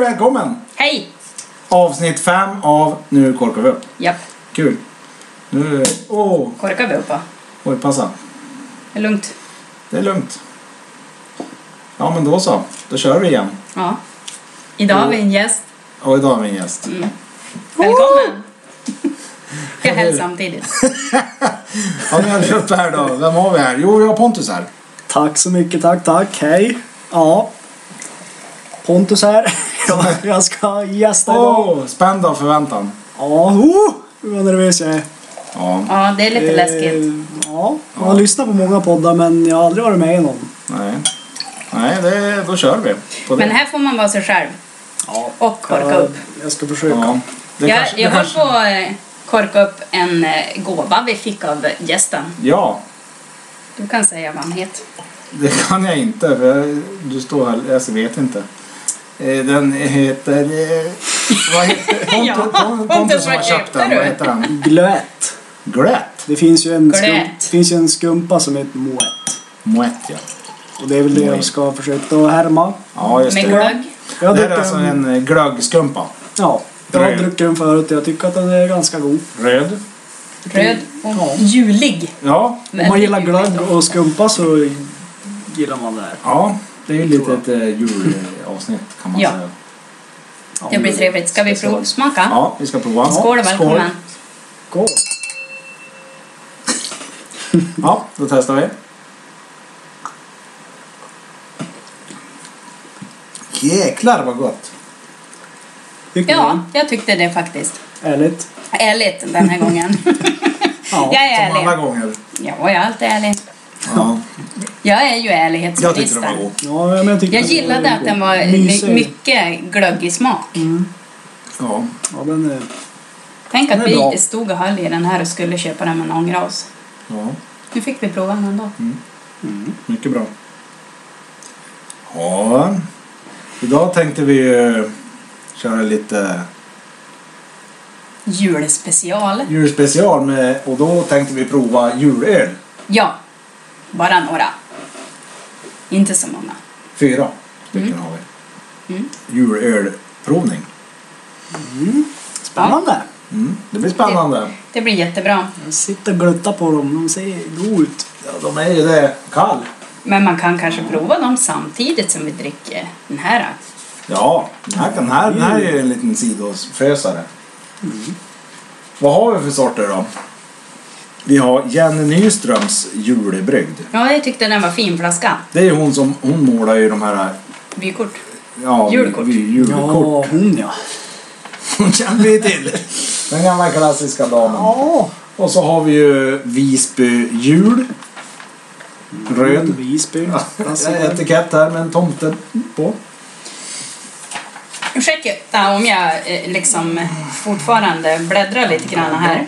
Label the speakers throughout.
Speaker 1: välkommen!
Speaker 2: Hej!
Speaker 1: Avsnitt 5 av Nu korkar vi upp.
Speaker 2: Japp,
Speaker 1: Kul. Nu... Åh! Oh,
Speaker 2: korkar vi upp va?
Speaker 1: oj, passa.
Speaker 2: Det är lugnt.
Speaker 1: Det är lugnt. Ja, men då så. Då kör vi igen.
Speaker 2: Ja. Idag har vi en gäst.
Speaker 1: Och idag har vi en gäst.
Speaker 2: Mm. Välkommen! Jag hälsar samtidigt.
Speaker 1: Ja, nu har vi upp det här då. Vem har vi här? Jo, jag har Pontus här.
Speaker 3: Tack så mycket, tack, tack. Hej. Ja. Pontus här. Jag- Jag ska gästa idag.
Speaker 1: Åh! Oh, spänd av förväntan.
Speaker 3: Ja, oh, vad nervös jag är.
Speaker 1: Ja,
Speaker 2: Ja, det är lite läskigt.
Speaker 3: Eh, Ja, jag har lyssnat på många poddar men jag har aldrig varit med i någon.
Speaker 1: nej. Nej, det, då kör vi. På det.
Speaker 2: Men här får man vara sig själv
Speaker 3: Ja,
Speaker 2: och korka
Speaker 3: jag,
Speaker 2: upp.
Speaker 3: jag ska försöka.
Speaker 1: Ja, det
Speaker 2: Jag,
Speaker 1: kanske-
Speaker 2: jag
Speaker 1: det
Speaker 2: höll
Speaker 1: kanske-
Speaker 2: på att eh, korka upp en eh, gåva vi fick av gästen.
Speaker 1: Ja,
Speaker 2: Du kan säga vad han heter.
Speaker 1: det kan jag inte. För jag, du står här. Jag vet inte. Eh, Den heter... eh, Vad heter
Speaker 2: Ja,
Speaker 1: Pontus, Pontus, Pontus som har
Speaker 2: vad
Speaker 1: köpt den.
Speaker 2: heter
Speaker 1: Vad
Speaker 2: du?
Speaker 1: heter den?
Speaker 3: Glöt.
Speaker 1: Glätt.
Speaker 3: Det finns ju, en skum,
Speaker 2: Glöt.
Speaker 3: det finns ju en skumpa som heter moett.
Speaker 1: Moët, ja.
Speaker 3: Och det är väl det jag ska försöka att härma.
Speaker 1: Ja, just
Speaker 2: Med
Speaker 1: det.
Speaker 2: glögg.
Speaker 3: Jag har
Speaker 1: Det här är
Speaker 3: druckit
Speaker 1: alltså
Speaker 3: den-
Speaker 1: en eh, glöggskumpa.
Speaker 3: Ja, jag har
Speaker 1: Röd.
Speaker 3: druckit den förut och jag tycker att den är ganska god.
Speaker 1: Röd.
Speaker 2: Röd
Speaker 3: Ja.
Speaker 2: och julig.
Speaker 1: Ja.
Speaker 3: Om man gillar
Speaker 2: Väldigt ljuvligt
Speaker 3: glögg
Speaker 2: då.
Speaker 3: och skumpa så gillar man det här.
Speaker 1: Ja, det är ju
Speaker 3: Jag
Speaker 1: lite
Speaker 3: tror
Speaker 1: ett eh, julavsnitt kan man
Speaker 2: Ja.
Speaker 1: säga.
Speaker 3: Ja,
Speaker 2: Det blir trevligt. Ska vi
Speaker 3: special.
Speaker 2: provsmaka?
Speaker 1: Ja, vi ska prova.
Speaker 2: Skål och välkommen.
Speaker 3: Skål.
Speaker 1: Ja, då testar vi. Jäklar vad gott!
Speaker 3: Tycker
Speaker 2: Ja, jag tyckte det faktiskt.
Speaker 3: du? Ärligt.
Speaker 2: Ärligt den här gången.
Speaker 3: Ja.
Speaker 2: Jag är
Speaker 1: Som alla
Speaker 2: ärlig.
Speaker 1: gånger.
Speaker 2: Ja, jag är alltid ärlig.
Speaker 1: Ja,
Speaker 2: Jag är ju
Speaker 1: jag tyckte den var
Speaker 2: ärlighetsminister.
Speaker 1: god.
Speaker 3: ja, men jag, tycker
Speaker 2: Jag
Speaker 3: den
Speaker 2: gillade
Speaker 3: är
Speaker 2: att
Speaker 3: god.
Speaker 2: den var
Speaker 3: Mysig.
Speaker 2: my-
Speaker 3: Mm.
Speaker 2: mycket glöggig smak.
Speaker 1: Ja.
Speaker 3: Ja, den är...
Speaker 2: Tänk
Speaker 3: Den
Speaker 2: att
Speaker 3: är bra.
Speaker 2: vi stod och höll i den här och skulle köpa den men ångrade oss.
Speaker 1: ja,
Speaker 2: Nu fick vi prova den ändå.
Speaker 1: mycket bra. Ja, idag tänkte vi ju köra lite
Speaker 2: Julspecial.
Speaker 1: julspecial med, och då tänkte vi prova julöl.
Speaker 2: Ja, bara några. Inte så många.
Speaker 1: Fyra stycken har vi.
Speaker 2: Mm.
Speaker 1: Julölprovning.
Speaker 3: Spännande.
Speaker 1: Mm. Det blir spännande.
Speaker 2: Det blir jättebra.
Speaker 3: Jag sitter och gluttar på dem. De ser god ut.
Speaker 1: Ja, de är ju det. Kall.
Speaker 2: Men man kan kanske prova dem samtidigt som vi dricker den här.
Speaker 1: Ja, den här, kan, här, den här är ju en liten sidofösare. Vad har vi för sorter då? Vi har Jenny Nyströms julebrygd.
Speaker 2: Ja, jag tyckte den var fin flaska.
Speaker 1: Det är ju hon som hon målar ju de här
Speaker 2: Vykort.
Speaker 1: ja,
Speaker 2: Julkort.
Speaker 1: vi- julkort.
Speaker 3: Ja, hon ja.
Speaker 1: Hon känner vi till. Den gamla klassiska damen.
Speaker 3: Ja.
Speaker 1: Och så har vi ju Visby jul. Röd.
Speaker 3: Visby.
Speaker 1: Ja,
Speaker 3: Alltså,
Speaker 1: Etikett här med en tomte på.
Speaker 2: Ursäkta om jag eh, liksom fortfarande bläddrar lite grann här.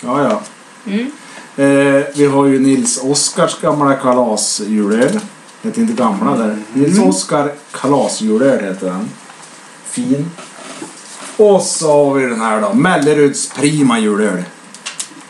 Speaker 1: Ja, ja.
Speaker 2: Mm.
Speaker 1: Eh, vi har ju Nils Oskars gamla kalasjulöl. Heter inte gamla där. Nils Oskar kalasjulöl heter den. Fin. Och så har vi den här då. Melleruds prima julöl.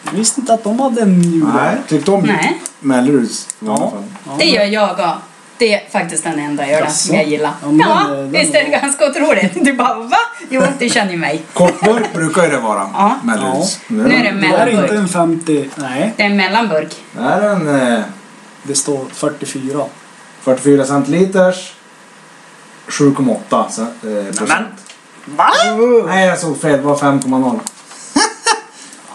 Speaker 3: jag visste inte att de hade en jul.
Speaker 1: Nej, tyckte om
Speaker 2: Nej.
Speaker 1: Melleruds i alla
Speaker 3: Ja.
Speaker 1: fall.
Speaker 3: Ja,
Speaker 2: Det gör jag också. Det är faktiskt den enda ölen som
Speaker 3: Jaså?
Speaker 2: jag gillar.
Speaker 3: Ja, men
Speaker 2: Ja,
Speaker 3: den-
Speaker 2: visst är det ganska otroligt? Du bara va? Jo, du känner ju mig.
Speaker 1: Kortburk brukar ju det vara.
Speaker 2: Ja.
Speaker 1: Melleruds.
Speaker 2: Nu är det
Speaker 3: Det här är
Speaker 2: mellanburk.
Speaker 3: inte en 50... Nej.
Speaker 2: Det är en mellanburk.
Speaker 1: Det här är en eh,
Speaker 3: Det står 44.
Speaker 1: 44 centiliters. 7,8 cent- eh, procent. Oh.
Speaker 3: Va?
Speaker 1: Nej, jag såg fel. Det var 5,0.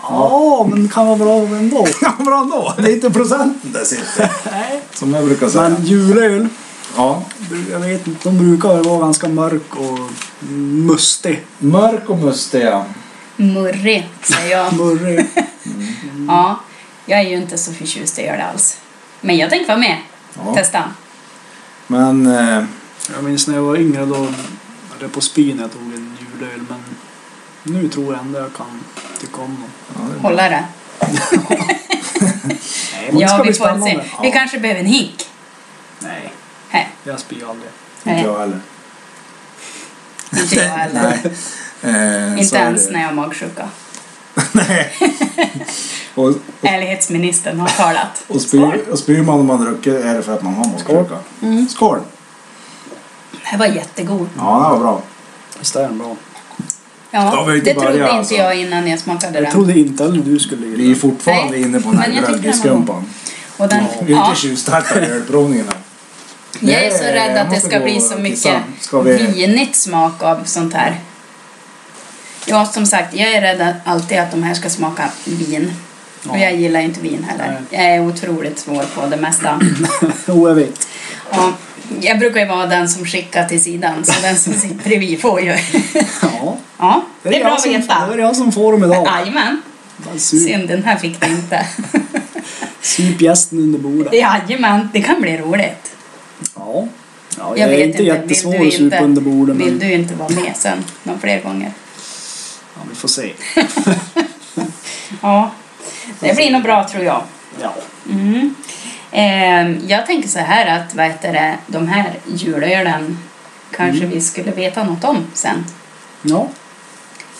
Speaker 3: Ja, men det kan vara bra ändå.
Speaker 1: Ja, bra ändå. Det är inte procenten där sitter.
Speaker 3: Nej.
Speaker 1: Som jag brukar säga.
Speaker 3: Men julöl.
Speaker 1: Ja.
Speaker 3: Jag vet inte, de brukar väl vara ganska mörk och mustig.
Speaker 1: Mörk och mustig, ja.
Speaker 2: Murrig, säger jag.
Speaker 3: Murrig.
Speaker 2: Ja, jag är ju inte så förtjust i öl alls. Men jag tänker vara med.
Speaker 1: Ja.
Speaker 2: Testa.
Speaker 1: Men eh,
Speaker 3: Jag minns när jag var yngre då var det på spyn jag tog en julöl men nu tror jag ändå jag kan tycka om dem.
Speaker 2: Hålla det.
Speaker 3: Nej, men det
Speaker 2: Ja,
Speaker 3: ska
Speaker 2: vi
Speaker 3: bli
Speaker 2: får se.
Speaker 3: spännande.
Speaker 2: Vi kanske behöver en hink.
Speaker 3: Nej,
Speaker 2: Här.
Speaker 3: jag spyr aldrig.
Speaker 1: inte
Speaker 2: Nej,
Speaker 1: jag heller.
Speaker 2: inte jag heller.
Speaker 1: Eh, så
Speaker 2: Inte
Speaker 1: är
Speaker 2: ens
Speaker 1: det.
Speaker 2: när jag är magsjuka.
Speaker 1: Nej. och,
Speaker 2: Ärlighetsministern har talat. Mm.
Speaker 1: och, spyr, och spyr man om man dricker är det för att man har magsjuka. Skål!
Speaker 2: Den var jättegod.
Speaker 1: Ja, den var bra.
Speaker 3: Visst är den bra?
Speaker 1: Ja,
Speaker 2: Ja,
Speaker 1: vi är
Speaker 2: det
Speaker 1: tillbaka,
Speaker 2: trodde inte
Speaker 1: alltså.
Speaker 2: jag innan jag smakade
Speaker 3: Jag
Speaker 2: den.
Speaker 3: trodde inte heller du skulle
Speaker 1: Vi är
Speaker 3: gilla
Speaker 1: fortfarande
Speaker 2: Nej,
Speaker 1: inne på den här
Speaker 2: men jag tyckte den var
Speaker 1: glöggdiskgumpan.
Speaker 2: Och den
Speaker 1: Vi är
Speaker 2: ja,
Speaker 1: inte tjuvstartade i ölprovningen än.
Speaker 2: jag är så
Speaker 1: Nej,
Speaker 2: rädd
Speaker 1: jag
Speaker 2: att det
Speaker 1: måste
Speaker 2: ska
Speaker 1: gå
Speaker 2: bli så
Speaker 1: till
Speaker 3: liksom.
Speaker 2: mycket
Speaker 1: sand. Ska vi-
Speaker 2: vinigt smak av sånt här. Ja, som sagt, jag är rädd att- alltid att de här ska smaka vin. Och
Speaker 3: Ja.
Speaker 2: jag gillar inte vin heller. Jag är otroligt svår på det mesta.
Speaker 3: Jo, jag vet.
Speaker 2: Och jag brukar ju vara den som skickar till sidan, så den som sitter bredvid får ju.
Speaker 3: Ja.
Speaker 2: Ja, det är bra
Speaker 3: jag
Speaker 2: att
Speaker 3: som, Det är Mm.
Speaker 2: veta.
Speaker 3: jag som får dem idag.
Speaker 2: Jajamän.
Speaker 3: Bara Sup,
Speaker 2: Synd, den här fick du inte.
Speaker 3: sup gästen under bordet.
Speaker 2: Jajamän, det kan bli roligt.
Speaker 3: Ja. ja
Speaker 2: Jag
Speaker 3: jag är
Speaker 2: vet
Speaker 3: inte
Speaker 2: inte,
Speaker 3: jättesvår
Speaker 2: vill du
Speaker 3: att supa
Speaker 2: inte-
Speaker 3: under bordet,
Speaker 2: Vill
Speaker 3: men
Speaker 2: du inte vara med sen någon fler gånger?
Speaker 3: ja, vi får se.
Speaker 2: Ja, det blir nog bra tror jag.
Speaker 3: Ja.
Speaker 2: Mm. Eh, jag tänker så här att vad heter det, de här julölen kanske
Speaker 3: Mm.
Speaker 2: vi skulle veta något om sen.
Speaker 3: Ja,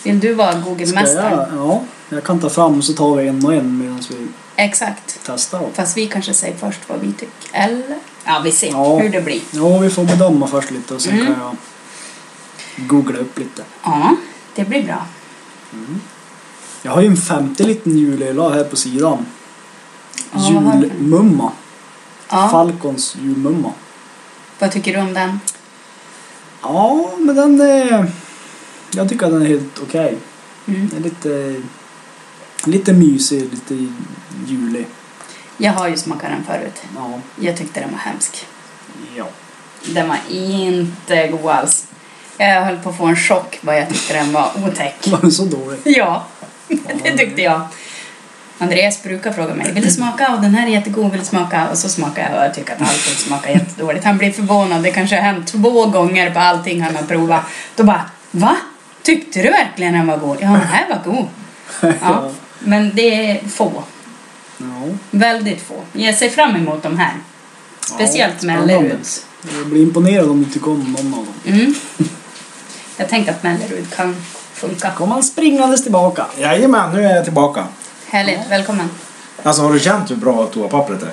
Speaker 2: Vill du vara
Speaker 3: ska
Speaker 2: Google-mästare?
Speaker 3: jag? Ja, jag kan ta fram så tar vi en och en medan vi
Speaker 2: Exakt.
Speaker 3: testar. dem.
Speaker 2: Fast vi kanske säger först vad vi tycker. Eller? Ja, vi ser
Speaker 3: Ja.
Speaker 2: hur det blir.
Speaker 3: Ja, vi får bedöma först lite och sen
Speaker 2: Mm.
Speaker 3: kan jag googla upp lite.
Speaker 2: Ja, det blir bra.
Speaker 3: Jag har ju en femte liten julöl här på sidan.
Speaker 2: Ja, vad har du?
Speaker 3: Julmumma.
Speaker 2: Ja.
Speaker 3: Falcons julmumma.
Speaker 2: Vad tycker du om den?
Speaker 3: Ja, men den är... Jag tycker att den är helt okej.
Speaker 2: Mm.
Speaker 3: Den är lite... Lite mysig, lite julig.
Speaker 2: Jag har ju smakat den förut.
Speaker 3: Ja.
Speaker 2: Jag tyckte den var hemsk.
Speaker 3: Ja.
Speaker 2: Den var inte god alls. Jag höll på att få en chock vad jag tyckte den var otäck.
Speaker 3: Var den så dålig?
Speaker 2: Ja, det tyckte jag. Andreas brukar fråga mig, vill du smaka? Och den här är jättegod, vill du smaka? Och så smakar jag och jag tycker att allting smakar jättedåligt. Han blir förvånad, det kanske har hänt två gånger på allting han har provat. Då bara, va? Tyckte du verkligen den var god? Ja, den här var god. Ja, men det är få,
Speaker 3: Ja.
Speaker 2: väldigt få. Jag ser fram emot de här. Speciellt med
Speaker 3: spännande.
Speaker 2: Mellerud.
Speaker 3: Jag blir imponerad om du tycker om någon av dem.
Speaker 2: Mm. Jag tänker att Mellerud kan funka.
Speaker 3: Kom han springandes tillbaka.
Speaker 1: Jajamän, nu är jag tillbaka.
Speaker 2: Härligt, välkommen.
Speaker 1: Alltså har du känt hur bra toapappret är?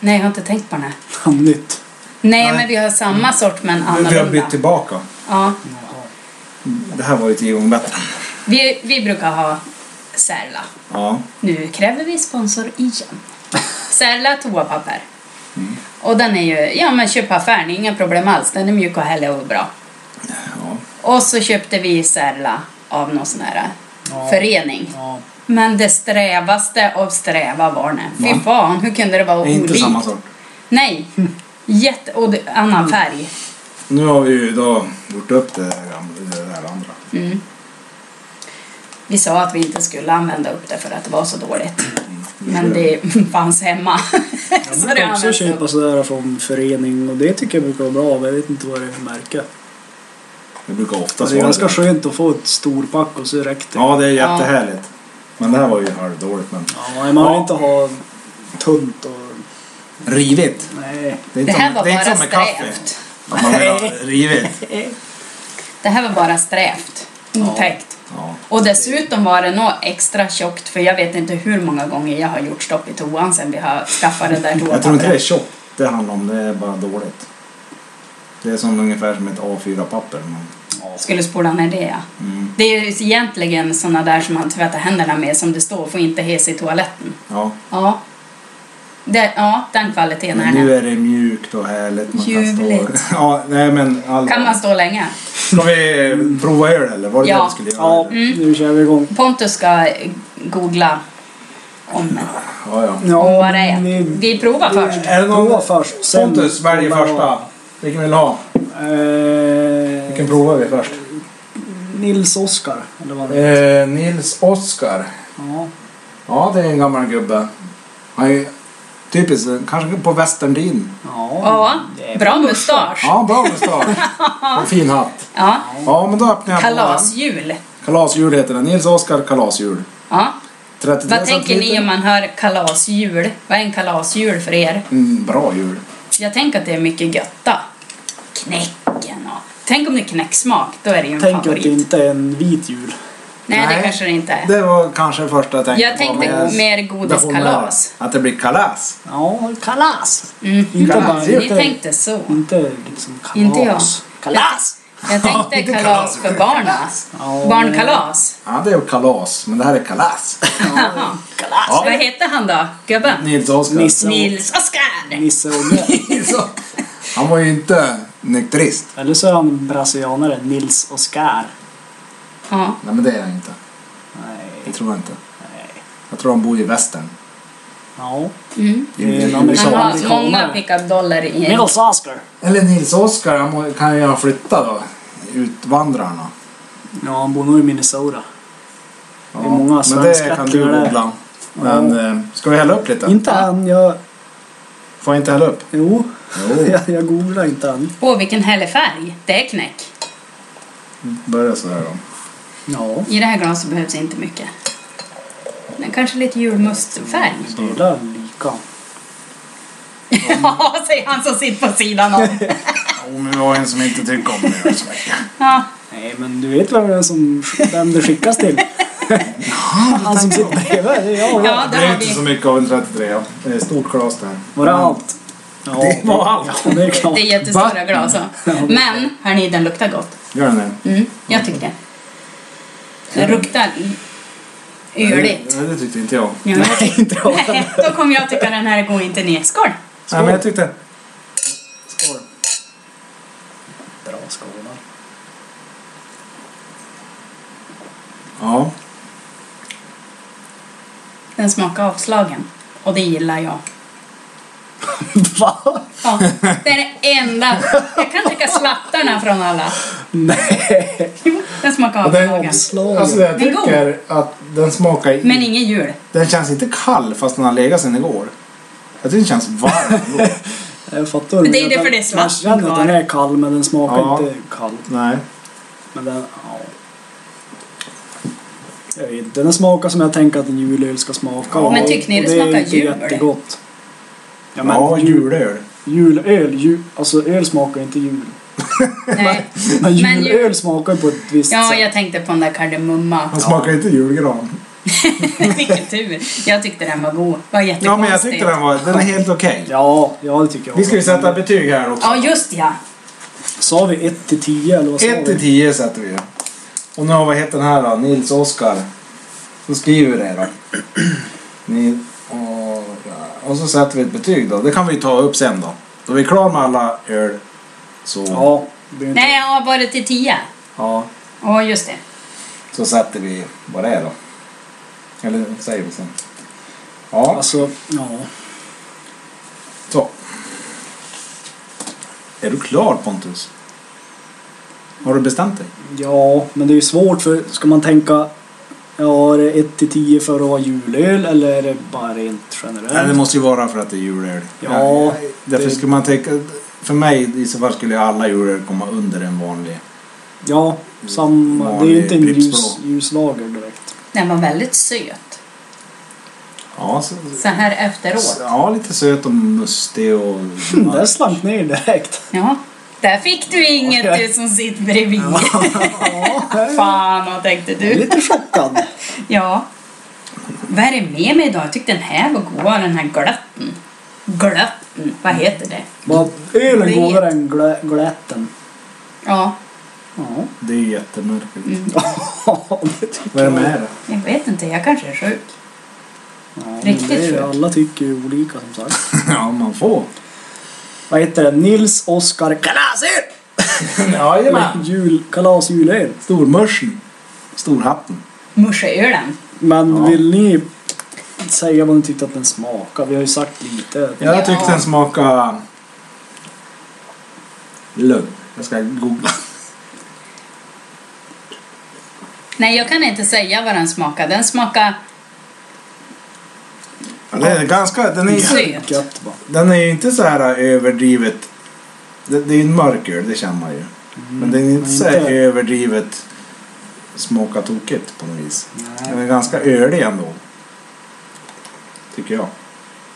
Speaker 2: Nej, jag har inte tänkt på den här.
Speaker 3: Han nytt.
Speaker 2: Nej,
Speaker 1: Nej.
Speaker 2: men vi har samma sort men
Speaker 1: Men Vi har
Speaker 2: annorlunda.
Speaker 1: bytt tillbaka.
Speaker 2: Ja,
Speaker 3: Jaha.
Speaker 1: Det här var ju tio gånger bättre.
Speaker 2: vi, vi brukar ha Särla.
Speaker 1: Ja.
Speaker 2: Nu kräver vi sponsor igen. Särla toapapper.
Speaker 1: Mm.
Speaker 2: Och den är ju, ja men köp på affären, inga problem alls. Den är mjuk och härlig och bra.
Speaker 1: ja.
Speaker 2: Och så köpte vi Särla av någon sån här
Speaker 3: Ja.
Speaker 2: förening.
Speaker 3: Ja.
Speaker 2: Men det strävaste av sträva var den. Fy
Speaker 1: Va?
Speaker 2: fan, hur kunde det vara
Speaker 1: Det är inte
Speaker 2: olikt?
Speaker 1: samma Mm. sak.
Speaker 2: Nej. Jätte, och det- annan färg.
Speaker 1: Nu har vi ju då gjort upp det där, gamla, det där andra.
Speaker 2: Mm. Vi sa att vi inte skulle använda upp det för att det var så dåligt. Men det fanns hemma.
Speaker 3: Jag
Speaker 2: Alltså,
Speaker 3: brukar också alltså,
Speaker 2: används
Speaker 3: köpa
Speaker 2: upp.
Speaker 3: sådär från förening och det tycker jag brukar vara bra men jag vet inte vad det är för märke. Alltså,
Speaker 1: Det brukar oftast
Speaker 3: Det är ganska skönt att få ett storpack och så räcker det.
Speaker 1: Ja, det är jättehärligt. Men det här var ju halvdåligt. Men...
Speaker 3: Ja, man vill
Speaker 1: Ja.
Speaker 3: inte ha tunt och...
Speaker 1: Rivigt.
Speaker 3: Nej.
Speaker 1: Det, är
Speaker 2: Det
Speaker 1: inte
Speaker 2: här
Speaker 1: som-
Speaker 2: var
Speaker 1: det är inte
Speaker 2: bara
Speaker 1: som med kaffe.
Speaker 2: strävt.
Speaker 1: Att man vill ha rivigt.
Speaker 2: Det här var bara strävt. Otäckt.
Speaker 1: Ja.
Speaker 2: Och dessutom var det nog extra tjockt för jag vet inte hur många gånger jag har gjort stopp i toan sen vi har skaffat det där
Speaker 1: Jag tror inte det är
Speaker 2: toapappret.
Speaker 1: tjockt det handlar om, det är bara dåligt. Det är som ungefär som ett A4-papper. Men...
Speaker 2: Skulle spola ner det ja.
Speaker 1: Mm.
Speaker 2: Det är ju egentligen såna där som man tvättar händerna med som det står, får inte hes i toaletten.
Speaker 1: Ja.
Speaker 2: Ja. Det, ja, den kvaliteten är
Speaker 1: Men nu
Speaker 2: den.
Speaker 1: är det mjukt och härligt. Man Kan
Speaker 2: Ljuvligt.
Speaker 1: stå... ja, nej, men all...
Speaker 2: Kan man stå länge?
Speaker 1: Ska vi eh, prova öl eller? Var det
Speaker 2: Ja.
Speaker 1: det vi skulle göra?
Speaker 3: Ja,
Speaker 1: eller?
Speaker 2: Mm.
Speaker 3: nu kör vi igång.
Speaker 2: Pontus ska googla om
Speaker 1: Ja, ja.
Speaker 3: Ja,
Speaker 2: vad det är.
Speaker 3: men vi-
Speaker 2: Vi provar först.
Speaker 1: Är det någon...
Speaker 3: Prova först, sen
Speaker 1: Pontus väljer
Speaker 3: kolla.
Speaker 1: första. Vilken vill du ha?
Speaker 3: Eh,
Speaker 1: Vilken provar vi först?
Speaker 3: Nils Oskar, eller vad det är.
Speaker 1: Eh, Nils Oskar.
Speaker 3: Ja.
Speaker 1: Ja, det är en gammal gubbe. Han är typiskt, eh, kanske på västerntiden.
Speaker 2: Ja,
Speaker 3: det är
Speaker 2: bra mustasch.
Speaker 1: Ja, bra mustasch. Och fin hatt.
Speaker 2: Ja.
Speaker 1: Ja, men då öppnar jag på den.
Speaker 2: Kalasjul.
Speaker 1: Kalasjul heter den. Nils Oskar Kalasjul.
Speaker 2: Ja.
Speaker 1: 33
Speaker 2: Vad tänker ni
Speaker 1: centiliter.
Speaker 2: om man hör kalasjul? Vad är en kalasjul för er?
Speaker 1: Mm, bra jul.
Speaker 2: Jag tänker att det är mycket götta. Knäcken och... Tänk om det är knäcksmak, då är det ju en
Speaker 3: Tänk att
Speaker 2: favorit.
Speaker 3: det inte är en vit jul.
Speaker 2: Nej, det
Speaker 1: Nej.
Speaker 2: kanske det inte är.
Speaker 1: Det var kanske det första jag tänkte
Speaker 2: Jag tänkte
Speaker 1: på. men
Speaker 2: mer
Speaker 1: jag
Speaker 2: godiskalas.
Speaker 1: behåller Att det blir kalas.
Speaker 3: Ja, kalas!
Speaker 2: Mm.
Speaker 3: Inte
Speaker 1: Kalas.
Speaker 3: bara...
Speaker 1: Ni
Speaker 2: Ni
Speaker 3: Inte,
Speaker 2: tänkte så.
Speaker 3: inte liksom kalas.
Speaker 2: Inte jag. Kalas! Jag
Speaker 4: Ja,
Speaker 2: tänkte
Speaker 4: inte
Speaker 2: kalas
Speaker 4: kalas,
Speaker 2: för
Speaker 4: utan
Speaker 2: barnen.
Speaker 3: Ja,
Speaker 2: Barnkalas.
Speaker 1: Ja, det är ju kalas, men det här är kalas.
Speaker 2: Jaha.
Speaker 4: Kalas!
Speaker 2: Vad hette han då, gubben?
Speaker 1: Nils Oskar.
Speaker 3: Nisse och,
Speaker 2: Nils Oskar!
Speaker 3: Nisse och Glenn.
Speaker 1: Så, Han var ju inte nykterist.
Speaker 3: Eller så är han brasilianare, Nils Oscar.
Speaker 2: Ja.
Speaker 1: Nej, men det är han inte. Det
Speaker 3: Nej.
Speaker 1: tror jag inte.
Speaker 3: Nej.
Speaker 1: Jag tror han bor i västern.
Speaker 3: Ja.
Speaker 2: Mm.
Speaker 1: I
Speaker 3: Det är en
Speaker 1: USA.
Speaker 2: Han har
Speaker 3: Amerikaner.
Speaker 2: många pick-up-dollar i...
Speaker 3: Nils Oscar.
Speaker 1: Eller Nils Oskar, han må- kan ju ha flyttat då. Utvandrarna.
Speaker 3: Ja, han bor nog i Minnesota.
Speaker 1: Ja,
Speaker 3: Det är många
Speaker 1: men det
Speaker 3: svenska
Speaker 1: kan du
Speaker 3: där.
Speaker 1: googla. Men eh, ska vi hälla upp lite?
Speaker 3: Inte han, jag...
Speaker 1: Får jag inte hälla upp?
Speaker 3: Jo.
Speaker 1: Jo,
Speaker 3: Jag, jag googlar inte han.
Speaker 2: Åh, vilken härlig färg. Det är knäck.
Speaker 1: börja så här då.
Speaker 3: Ja.
Speaker 2: I det här glaset behövs inte mycket. Men kanske lite julmustfärg.
Speaker 3: Vi delar lika.
Speaker 2: Ja, säger han som sitter på sidan om.
Speaker 1: Jo, men vi var en som inte tycker om det så mycket.
Speaker 2: Ja.
Speaker 3: Nej, men du vet vem det är som... Vem det skickas till? han som sitter bredvid. Det är jag.
Speaker 2: ja,
Speaker 1: Det
Speaker 2: där
Speaker 1: är
Speaker 2: har
Speaker 1: inte så
Speaker 2: vi.
Speaker 1: mycket av en 33. Det är ett stort glas där.
Speaker 3: Var det allt? Ja,
Speaker 1: Det var allt.
Speaker 3: Ja, det är klart.
Speaker 2: Det är jättestora glas. ja. Men, hörni, den luktar gott.
Speaker 1: Gör den det?
Speaker 2: Mm, jag tycker det. Den luktar öligt.
Speaker 1: Nej, det tyckte inte jag.
Speaker 2: Ja, jag tycker-
Speaker 3: inte jag.
Speaker 2: Nej, då kommer jag tycka den här går inte ner. Skål!
Speaker 1: Nej, men jag tyckte...
Speaker 3: Skål. Bra skålar.
Speaker 1: Ja.
Speaker 2: Den smakar avslagen. Och det gillar jag.
Speaker 3: Va?
Speaker 2: Ja, det är det enda. Jag kan dricka slattarna från alla.
Speaker 3: Nej.
Speaker 2: Jo, den smakar
Speaker 1: Ja, det är
Speaker 2: avslagen.
Speaker 3: Avslagen.
Speaker 1: Alltså det jag
Speaker 2: Men god.
Speaker 1: tycker att den smakar... i-
Speaker 2: Men ingen jul.
Speaker 1: Den känns inte kall fast den har legat sedan igår. Jag tycker den känns varm. ändå.
Speaker 3: Jag fattar
Speaker 2: Men det är det för det är
Speaker 3: Jag
Speaker 2: svart
Speaker 3: känner att
Speaker 2: kvar.
Speaker 3: den är kall men den smakar
Speaker 1: Ja.
Speaker 3: inte kall.
Speaker 1: Nej.
Speaker 3: Men den, ja. Jag vet inte, den smakar som jag tänker att en julöl ska smaka.
Speaker 1: Ja,
Speaker 2: men tycker ni
Speaker 3: och
Speaker 2: det smakar
Speaker 3: inte
Speaker 2: jul, eller?
Speaker 3: jättegott. Ja, men
Speaker 1: Ja,
Speaker 3: jul-
Speaker 1: julöl.
Speaker 3: Julöl, ju, alltså öl smakar inte jul.
Speaker 2: Nej.
Speaker 3: Men
Speaker 2: Men
Speaker 3: julöl
Speaker 2: jul-
Speaker 3: smakar på ett visst
Speaker 2: Ja,
Speaker 3: sätt.
Speaker 2: jag tänkte på den där kardemumma.
Speaker 1: Han smakar inte julgran.
Speaker 2: Vilken tur. Jag tyckte den var god. Var
Speaker 1: Ja, men jag tyckte den var... Den är helt okej.
Speaker 3: Ja, ja det tycker jag.
Speaker 1: Vi ska ju sätta betyg här också.
Speaker 2: Ja, just ja.
Speaker 3: Sa vi 1 till 10 eller vad sa
Speaker 1: 1
Speaker 3: vi?
Speaker 1: till 10 sätter vi. Och nu har vi heter den här då, Nils Oskar. Så skriver vi det då. Nil, och, och så sätter vi ett betyg då. Det kan vi ta upp sen då. Då vi är klara med alla öl. Så, ja.
Speaker 3: Ja, det blir inte...
Speaker 2: Nej, ja, var det till tio? Ja, just det.
Speaker 1: så sätter vi vad det är då. Eller säger vi sen. Ja,
Speaker 3: Alltså, ja.
Speaker 1: så. Är du klar Pontus? Har du bestämt dig?
Speaker 3: Ja, men det är ju svårt för ska man tänka Ja, är det 1 till 10 för att vara julöl eller är det bara rent generellt?
Speaker 1: Nej, det måste ju vara för att det är julöl.
Speaker 3: Ja,
Speaker 1: därför
Speaker 3: det-
Speaker 1: skulle man tänka... För mig i så fall skulle alla julöl komma under en vanlig.
Speaker 3: Ja, samma. det är ju inte en
Speaker 1: Vanlig
Speaker 3: ljus,
Speaker 1: Pripsblå.
Speaker 3: ljuslager direkt.
Speaker 2: Den var väldigt söt.
Speaker 1: Ja, så,
Speaker 2: Så här efteråt.
Speaker 1: ja lite söt och mustig och...
Speaker 3: Där slank ner direkt.
Speaker 2: Ja. Där fick du inget du som sitter bredvid. Fan, vad tänkte
Speaker 3: Jag är
Speaker 2: du?
Speaker 3: lite chockad.
Speaker 2: Ja. Vad är det med mig idag? Jag tyckte den här var god, den här glötten. Glötten, vad heter det?
Speaker 3: Vad ölen
Speaker 2: Vet.
Speaker 3: går än glä, glätten.
Speaker 2: Ja,
Speaker 3: Ja.
Speaker 1: Det är jättemärkligt.
Speaker 3: Mm. det tycker
Speaker 1: Vad är det
Speaker 3: jag.
Speaker 1: med det?
Speaker 2: jag vet inte, jag kanske är sjuk.
Speaker 3: Ja, men
Speaker 2: Riktigt
Speaker 3: det är det.
Speaker 2: sjukt.
Speaker 3: Alla tycker ju olika som sagt.
Speaker 1: ja, man får.
Speaker 3: Vad heter det? Nils Oskar Kalasöl!
Speaker 1: Jajamän!
Speaker 3: Jul, kalas julöl.
Speaker 1: Stormörsen. Storhatten.
Speaker 2: Morseölen.
Speaker 3: Men
Speaker 1: Ja.
Speaker 3: vill ni säga vad ni tyckte att den smakar? Vi har ju sagt lite.
Speaker 1: Jag
Speaker 2: Ja.
Speaker 1: tyckte den smakade... Lugn. Jag ska googla.
Speaker 2: Nej, jag kan inte säga vad den smakar. Den smakar
Speaker 1: Ja, den är ganska... Den är,
Speaker 2: söt.
Speaker 3: Gött bara.
Speaker 1: den är ju inte så här överdrivet... Det, det är ju en mörköl, det känner man ju. Men den är inte så här
Speaker 3: Mm. inte-
Speaker 1: överdrivet smaka tokigt på något vis. Den
Speaker 3: Nej.
Speaker 1: är ganska ölig ändå. Tycker jag.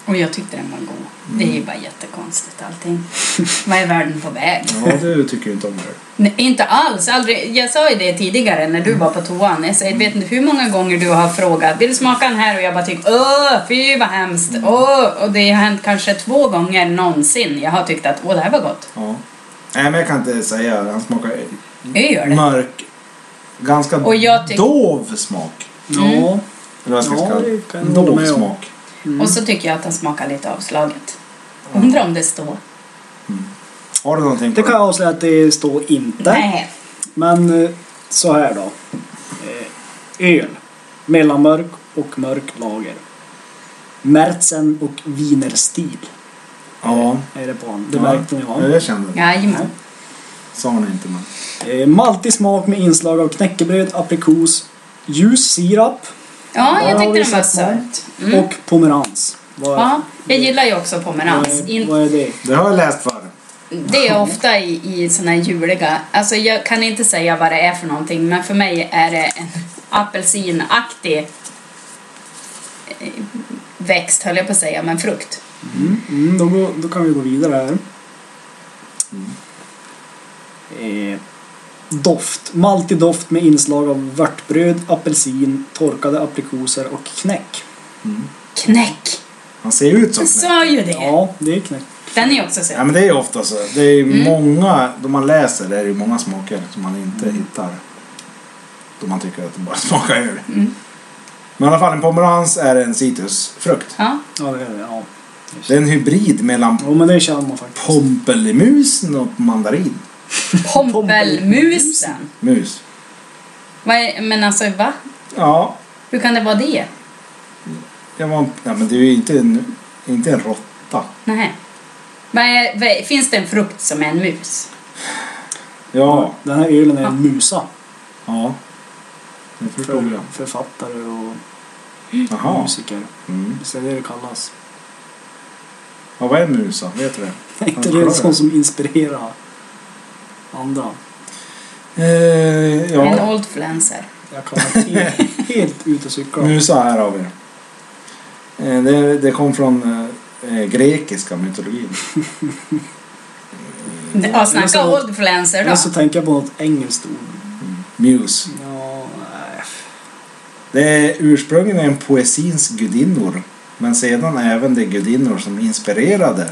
Speaker 2: Och jag tyckte den var god. Det är ju bara jättekonstigt allting. Vad är världen på väg?
Speaker 1: Ja, du tycker ju inte om öl.
Speaker 2: Nej, inte alls. Aldrig. Jag sa ju det tidigare när du var på toan. Jag säger, vet inte hur många gånger du har frågat vill du smaka den här? Och jag bara tycker åh, fy vad hemskt. Åh! Och det har hänt kanske två gånger någonsin jag har tyckt att åh, det här var gott.
Speaker 1: Ja. Nej, men jag kan inte säga. Han smakar
Speaker 2: Jag gör det.
Speaker 1: mörk, ganska
Speaker 2: Och jag tyck-
Speaker 1: dov smak.
Speaker 2: Mm.
Speaker 3: Ja.
Speaker 1: Eller vad ska jag
Speaker 3: Ja,
Speaker 1: kalla
Speaker 3: det
Speaker 1: det?
Speaker 3: kan jag hålla
Speaker 1: Dov
Speaker 3: med om.
Speaker 1: smak.
Speaker 3: Mm.
Speaker 2: Och så tycker jag att den smakar lite avslaget. Undrar om det står.
Speaker 1: Har du någonting på
Speaker 3: Det kan jag avslöja att det står inte.
Speaker 2: Nej.
Speaker 3: Men eh, så här då. Eh, Öl. Mellanmörk och mörk lager. Märzen och Wienerstil
Speaker 1: Ja.
Speaker 3: är det på den. Det
Speaker 1: Ja.
Speaker 3: märkte ni va?
Speaker 1: Ja, jag kände det.
Speaker 2: Jajamän.
Speaker 1: Sa hon inte, men.
Speaker 3: Eh, Maltig smak med inslag av knäckebröd, aprikos, ljus sirap
Speaker 2: Ja,
Speaker 3: Ja,
Speaker 2: jag tyckte
Speaker 3: vi
Speaker 2: den var
Speaker 3: satt på.
Speaker 2: söt. Mm.
Speaker 3: och pomerans. Vad-
Speaker 2: Ja, jag gillar ju också pomerans.
Speaker 3: vad-
Speaker 2: In-
Speaker 3: Vad är det?
Speaker 1: Det har jag läst förr.
Speaker 2: Det är ofta i, i såna här juliga... Alltså jag kan inte säga vad det är för någonting, men för mig är det en apelsinaktig eh, växt, höll jag på att säga, men frukt.
Speaker 3: Mm, mm, då, går- då kan vi gå vidare här. Eh, doft. Maltig doft med inslag av vörtbröd, apelsin, torkade aprikoser och knäck.
Speaker 2: Knäck!
Speaker 1: Han ser ut som
Speaker 2: Jag sa ju det!
Speaker 3: Ja, det är knäck.
Speaker 2: Den är också söt.
Speaker 1: Ja, men det är ofta så. Det är ju många, då man läser, det är ju många smaker som man inte hittar. Då man tycker att det bara smakar öl. Men i alla fall, en pomerans är en citrusfrukt.
Speaker 2: Ja,
Speaker 3: Ja, det är det. Ja.
Speaker 1: Det är en hybrid mellan
Speaker 3: Jo, men det känner man faktiskt.
Speaker 1: pompelmusen och mandarin.
Speaker 2: pompelmusen!
Speaker 1: Mus.
Speaker 2: Vad är, men alltså, va?
Speaker 1: Ja,
Speaker 2: Hur kan det vara det?
Speaker 1: jag var, ja men det är ju inte en, inte en råtta.
Speaker 2: Nähä. Vad är, vad är, finns det en frukt som är en mus?
Speaker 1: Ja,
Speaker 3: Den här ölen är en musa.
Speaker 1: ja. Nu förstod jag.
Speaker 3: Författare och
Speaker 1: Jaha.
Speaker 3: musiker.
Speaker 1: Mm.
Speaker 3: Visst är det det kallas?
Speaker 1: Ja, vad är en musa? Vet du det?
Speaker 3: Är inte
Speaker 1: Ja,
Speaker 3: det
Speaker 1: kolla
Speaker 3: en sån
Speaker 1: det.
Speaker 3: som inspirerar andra?
Speaker 1: Eh,
Speaker 2: En
Speaker 1: ja,
Speaker 2: old flancer.
Speaker 3: Jag kan vara helt, helt ute och cykla.
Speaker 1: musa här har vi det. Eh, det. Det kom från eh, eh, grekiska mytologin.
Speaker 2: Ja, snacka
Speaker 3: så-
Speaker 2: old flancer då.
Speaker 3: Eller så tänker jag på något engelskt ord.
Speaker 1: Muse.
Speaker 3: Ja, nej.
Speaker 1: Det är ursprungligen poesins gudinnor. Men sedan även de gudinnor som inspirerade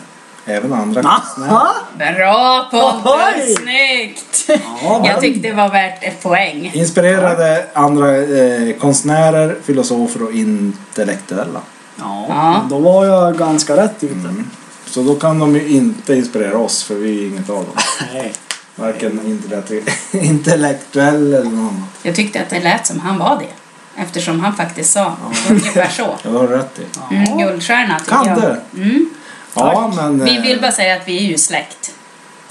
Speaker 1: även andra konstnärer.
Speaker 2: Bra
Speaker 3: Ohoj!
Speaker 2: Pontus! Snyggt!
Speaker 3: Ja,
Speaker 2: Jag
Speaker 3: men-
Speaker 2: tyckte det var värt ett poäng.
Speaker 1: Inspirerade andra eh, konstnärer, filosofer och intellektuella. Mm.
Speaker 3: ja,
Speaker 2: Ja. Mm.
Speaker 3: men då var jag ganska rätt ute.
Speaker 1: Så då kan de ju inte inspirera oss för vi är ju inget av dem.
Speaker 3: Nej.
Speaker 1: Varken intellektu- intellektuell eller något annat.
Speaker 2: Jag tyckte att det lät som han var det. Eftersom han faktiskt sa ungefär så.
Speaker 1: Jag har rätt i.
Speaker 3: Ja.
Speaker 2: Mm, guldstjärna tycker
Speaker 1: Kan
Speaker 2: jag.
Speaker 1: du?
Speaker 2: Mm.
Speaker 1: Ja, men...
Speaker 2: Vi
Speaker 1: eh,
Speaker 2: vill bara säga att vi är ju släkt.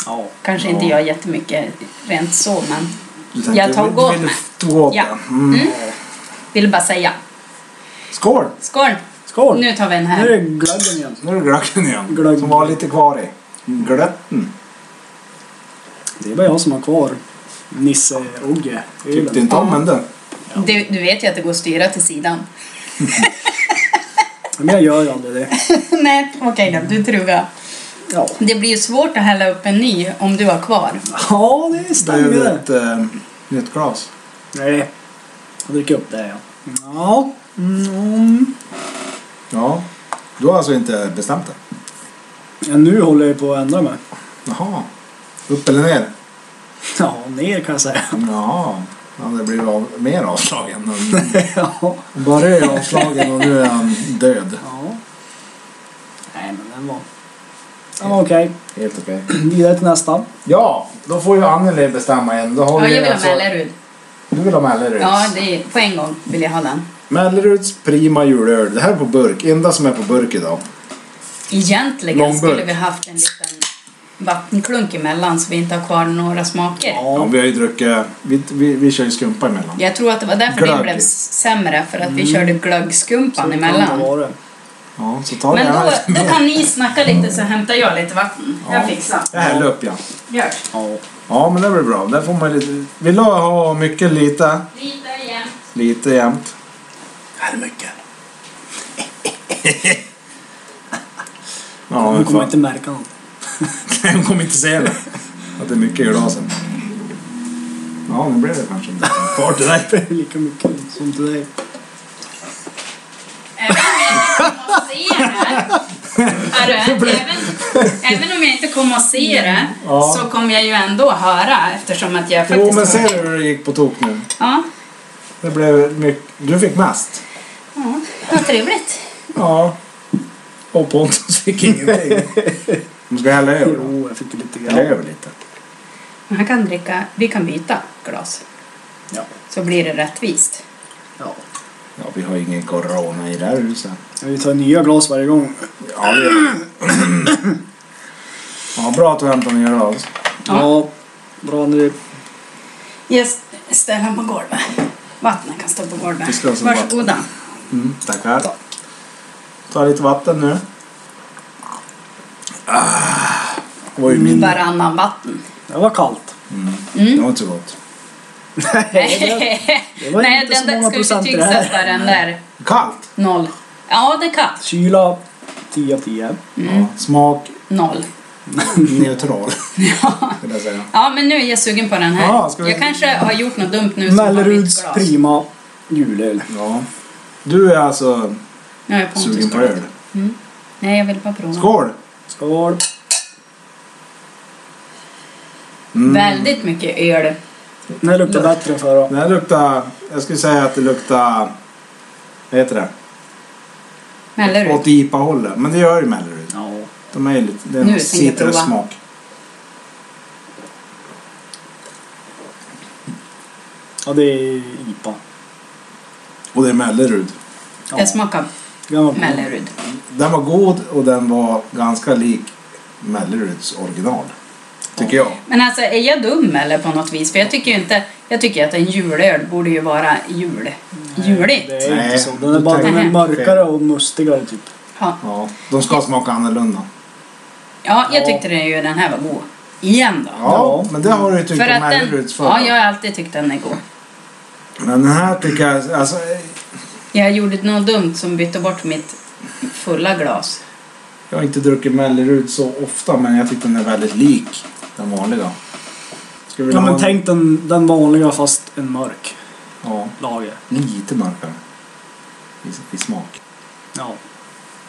Speaker 3: Ja.
Speaker 2: Kanske
Speaker 1: Ja.
Speaker 2: inte jag jättemycket rent så, men
Speaker 1: du tänkte,
Speaker 2: jag tar
Speaker 1: vill-
Speaker 2: gott
Speaker 1: vill du
Speaker 2: med.
Speaker 1: ta åt
Speaker 2: Ja.
Speaker 1: den? Mm.
Speaker 2: vill bara säga.
Speaker 1: Skål!
Speaker 2: Skål!
Speaker 3: Skål! Nu,
Speaker 2: Nu tar vi en
Speaker 3: är
Speaker 2: här.
Speaker 3: det glöggen igen.
Speaker 1: Nu är det glöggen igen.
Speaker 3: Glöggen.
Speaker 1: Som var lite kvar i. Glötten.
Speaker 3: Det är bara jag som har kvar Nisse-Ogge.
Speaker 1: Tyckte inte om den du.
Speaker 2: Du, du vet ju att det går att styra till sidan.
Speaker 3: Men jag gör ju aldrig det.
Speaker 2: Nej, okej då. Du truga.
Speaker 3: Ja,
Speaker 2: Det blir ju svårt att hälla upp en ny om du har kvar.
Speaker 3: ja det
Speaker 1: Det är
Speaker 3: stämmer
Speaker 1: ju
Speaker 3: det.
Speaker 1: ett eh, nytt glas.
Speaker 3: Nej. Jag dricker upp det ja. Ja. Mm.
Speaker 1: Ja. Du har alltså inte bestämt det?
Speaker 3: ja. Nu håller jag på att ändra mig.
Speaker 1: Jaha. Upp eller ner?
Speaker 3: Ja, ner kan jag säga.
Speaker 1: Ja. ja det blir av, mer avslagen.
Speaker 3: ja.
Speaker 1: Bara är avslagen och nu är han död.
Speaker 3: ja. Nej, men den var... Den var okej.
Speaker 1: Helt okej.
Speaker 3: Vidare till nästa.
Speaker 1: Ja, då får ju Anneli bestämma igen. Då har
Speaker 2: Ja,
Speaker 1: vi
Speaker 2: jag vill ha
Speaker 1: alltså-
Speaker 2: Mellerud.
Speaker 1: Du vill ha Melleruds?
Speaker 2: Ja, det är, på en gång vill jag ha den.
Speaker 1: Melleruds prima julöl. Det här är på burk. Enda som är på burk idag.
Speaker 2: Egentligen
Speaker 1: Långburk.
Speaker 2: skulle vi haft en liten vattenklunk emellan så vi inte har kvar några smaker.
Speaker 1: Ja,
Speaker 3: Ja.
Speaker 1: vi har ju druckit... Vi, vi, vi kör ju skumpa emellan.
Speaker 2: Jag tror att det var därför
Speaker 1: Glögg. Mm.
Speaker 2: det blev sämre, för att vi körde glöggskumpan
Speaker 3: Kan det
Speaker 2: emellan.
Speaker 3: vara det.
Speaker 1: Ja, så tar
Speaker 2: Men
Speaker 1: jag
Speaker 2: då,
Speaker 1: här.
Speaker 2: då kan ni snacka lite så hämtar jag lite vatten. Jag fixar.
Speaker 1: Jag häller upp ja.
Speaker 2: Gör.
Speaker 3: Ja.
Speaker 1: Ja, men det blir bra. Där får man lite... Vill du ha mycket, lite?
Speaker 2: Lite igen.
Speaker 1: Lite jämt.
Speaker 3: Här är mycket.
Speaker 1: Ja,
Speaker 3: Hon
Speaker 1: men
Speaker 3: kommer
Speaker 1: fan.
Speaker 3: inte märka något.
Speaker 1: Hon kommer inte se det. Att det är mycket i glasen. Ja, nu blev det kanske inte kvar till dig.
Speaker 3: Det är lika mycket som till dig.
Speaker 2: Även vi som har se här. Är du? Även, Även om jag inte kommer att se det
Speaker 1: Ja.
Speaker 2: så kommer jag ju ändå höra eftersom att jag
Speaker 1: Jo,
Speaker 2: faktiskt
Speaker 1: men
Speaker 2: hör.
Speaker 1: ser du hur det gick på tok nu?
Speaker 2: Ja.
Speaker 1: Det blev mycket. Du fick mest.
Speaker 2: ja, vad trevligt.
Speaker 1: Ja. Och Pontus fick ingenting. Man ska hälla över då.
Speaker 3: Jo, jag fick lite
Speaker 1: Hälla
Speaker 3: grann.
Speaker 1: över lite.
Speaker 2: Men han kan dricka, vi kan byta glas
Speaker 3: Ja.
Speaker 2: så blir det rättvist.
Speaker 3: ja.
Speaker 1: Ja, vi har ingen corona i det här huset.
Speaker 3: Ja, Vi tar nya glas varje gång.
Speaker 1: Ja, det gör vi. Ja, bra att du hämtade nya glas.
Speaker 2: Ja.
Speaker 3: Ja. Bra nu.
Speaker 2: Yes, ställ han på golvet. Vattnet kan stå på
Speaker 1: Vi
Speaker 2: golvet.
Speaker 1: ska ha som
Speaker 2: Varsågoda.
Speaker 1: Mm, tackar. Ta lite vatten nu. Ah, oj, min...
Speaker 2: Varannan vatten.
Speaker 3: Det var kallt.
Speaker 2: Mm.
Speaker 1: Det var inte så gott.
Speaker 3: Det var
Speaker 2: Nej,
Speaker 3: inte
Speaker 2: den
Speaker 3: så
Speaker 2: där
Speaker 3: många
Speaker 2: ska
Speaker 3: procent
Speaker 2: vi
Speaker 3: i det här.
Speaker 2: betygsätta den där.
Speaker 1: Kallt!
Speaker 2: Noll. Ja, det är kallt.
Speaker 3: Kyla 10 av 10.
Speaker 2: Mm.
Speaker 1: Ja, smak
Speaker 2: Noll.
Speaker 1: neutral. Skulle jag säga.
Speaker 2: Ja, men nu är jag sugen på den här.
Speaker 1: Ja, ska vi-
Speaker 2: Jag kanske har gjort något dumt nu som har bytt
Speaker 3: Melleruds
Speaker 2: glas.
Speaker 3: prima julöl.
Speaker 1: Ja. Du är alltså
Speaker 2: Nu har jag Pontus
Speaker 1: sugen på
Speaker 2: glas.
Speaker 1: öl.
Speaker 2: Mm. Nej, jag vill bara prova.
Speaker 1: Skål!
Speaker 3: Skål!
Speaker 2: Väldigt mycket öl.
Speaker 3: Den här luktar bättre än förra.
Speaker 1: Mm. Det här luktar... Jag skulle säga att det luktar... Vad heter det?
Speaker 2: Mellerud.
Speaker 1: Åt IPA-hållet. Men det gör ju Mellerud.
Speaker 3: Ja.
Speaker 1: De är ju lite... Det är
Speaker 2: Nu
Speaker 1: en
Speaker 2: tänker jag prova.
Speaker 1: citrussmak.
Speaker 3: ja, det är IPA.
Speaker 1: Och det är Mellerud.
Speaker 3: Ja.
Speaker 2: Jag smakar
Speaker 3: Den var god.
Speaker 2: Mellerud.
Speaker 1: Den var god och den var ganska lik Melleruds original. Tycker jag.
Speaker 2: Men alltså, är jag dum eller på något vis? För jag tycker ju inte... Jag tycker att en julöl borde ju vara jul. Juligt.
Speaker 3: Det är
Speaker 1: Nej,
Speaker 3: inte så. Den
Speaker 1: du
Speaker 3: är bara den
Speaker 2: tänker-
Speaker 3: är mörkare och mustigare typ.
Speaker 2: Ja.
Speaker 1: Ja, de ska smaka annorlunda.
Speaker 2: ja, jag
Speaker 3: Ja.
Speaker 2: tyckte det ju den här var god. Igen då.
Speaker 1: Ja,
Speaker 3: Ja.
Speaker 1: men det har du ju tyckt
Speaker 2: För
Speaker 1: om
Speaker 2: att den,
Speaker 1: Melleruds förr.
Speaker 2: ja, jag har alltid tyckt den är god.
Speaker 1: Men den här tycker jag... Alltså,
Speaker 2: Jag gjorde något dumt som bytte bort mitt fulla glas.
Speaker 1: jag har inte druckit Mellerud så ofta men jag tyckte den är väldigt lik den vanliga. Skulle vilja
Speaker 3: Ja,
Speaker 1: ha
Speaker 3: men
Speaker 1: en-
Speaker 3: tänk den, den vanliga fast en mörk
Speaker 1: Ja,
Speaker 3: lager.
Speaker 1: lite mörkare. I, I smak.
Speaker 3: Ja.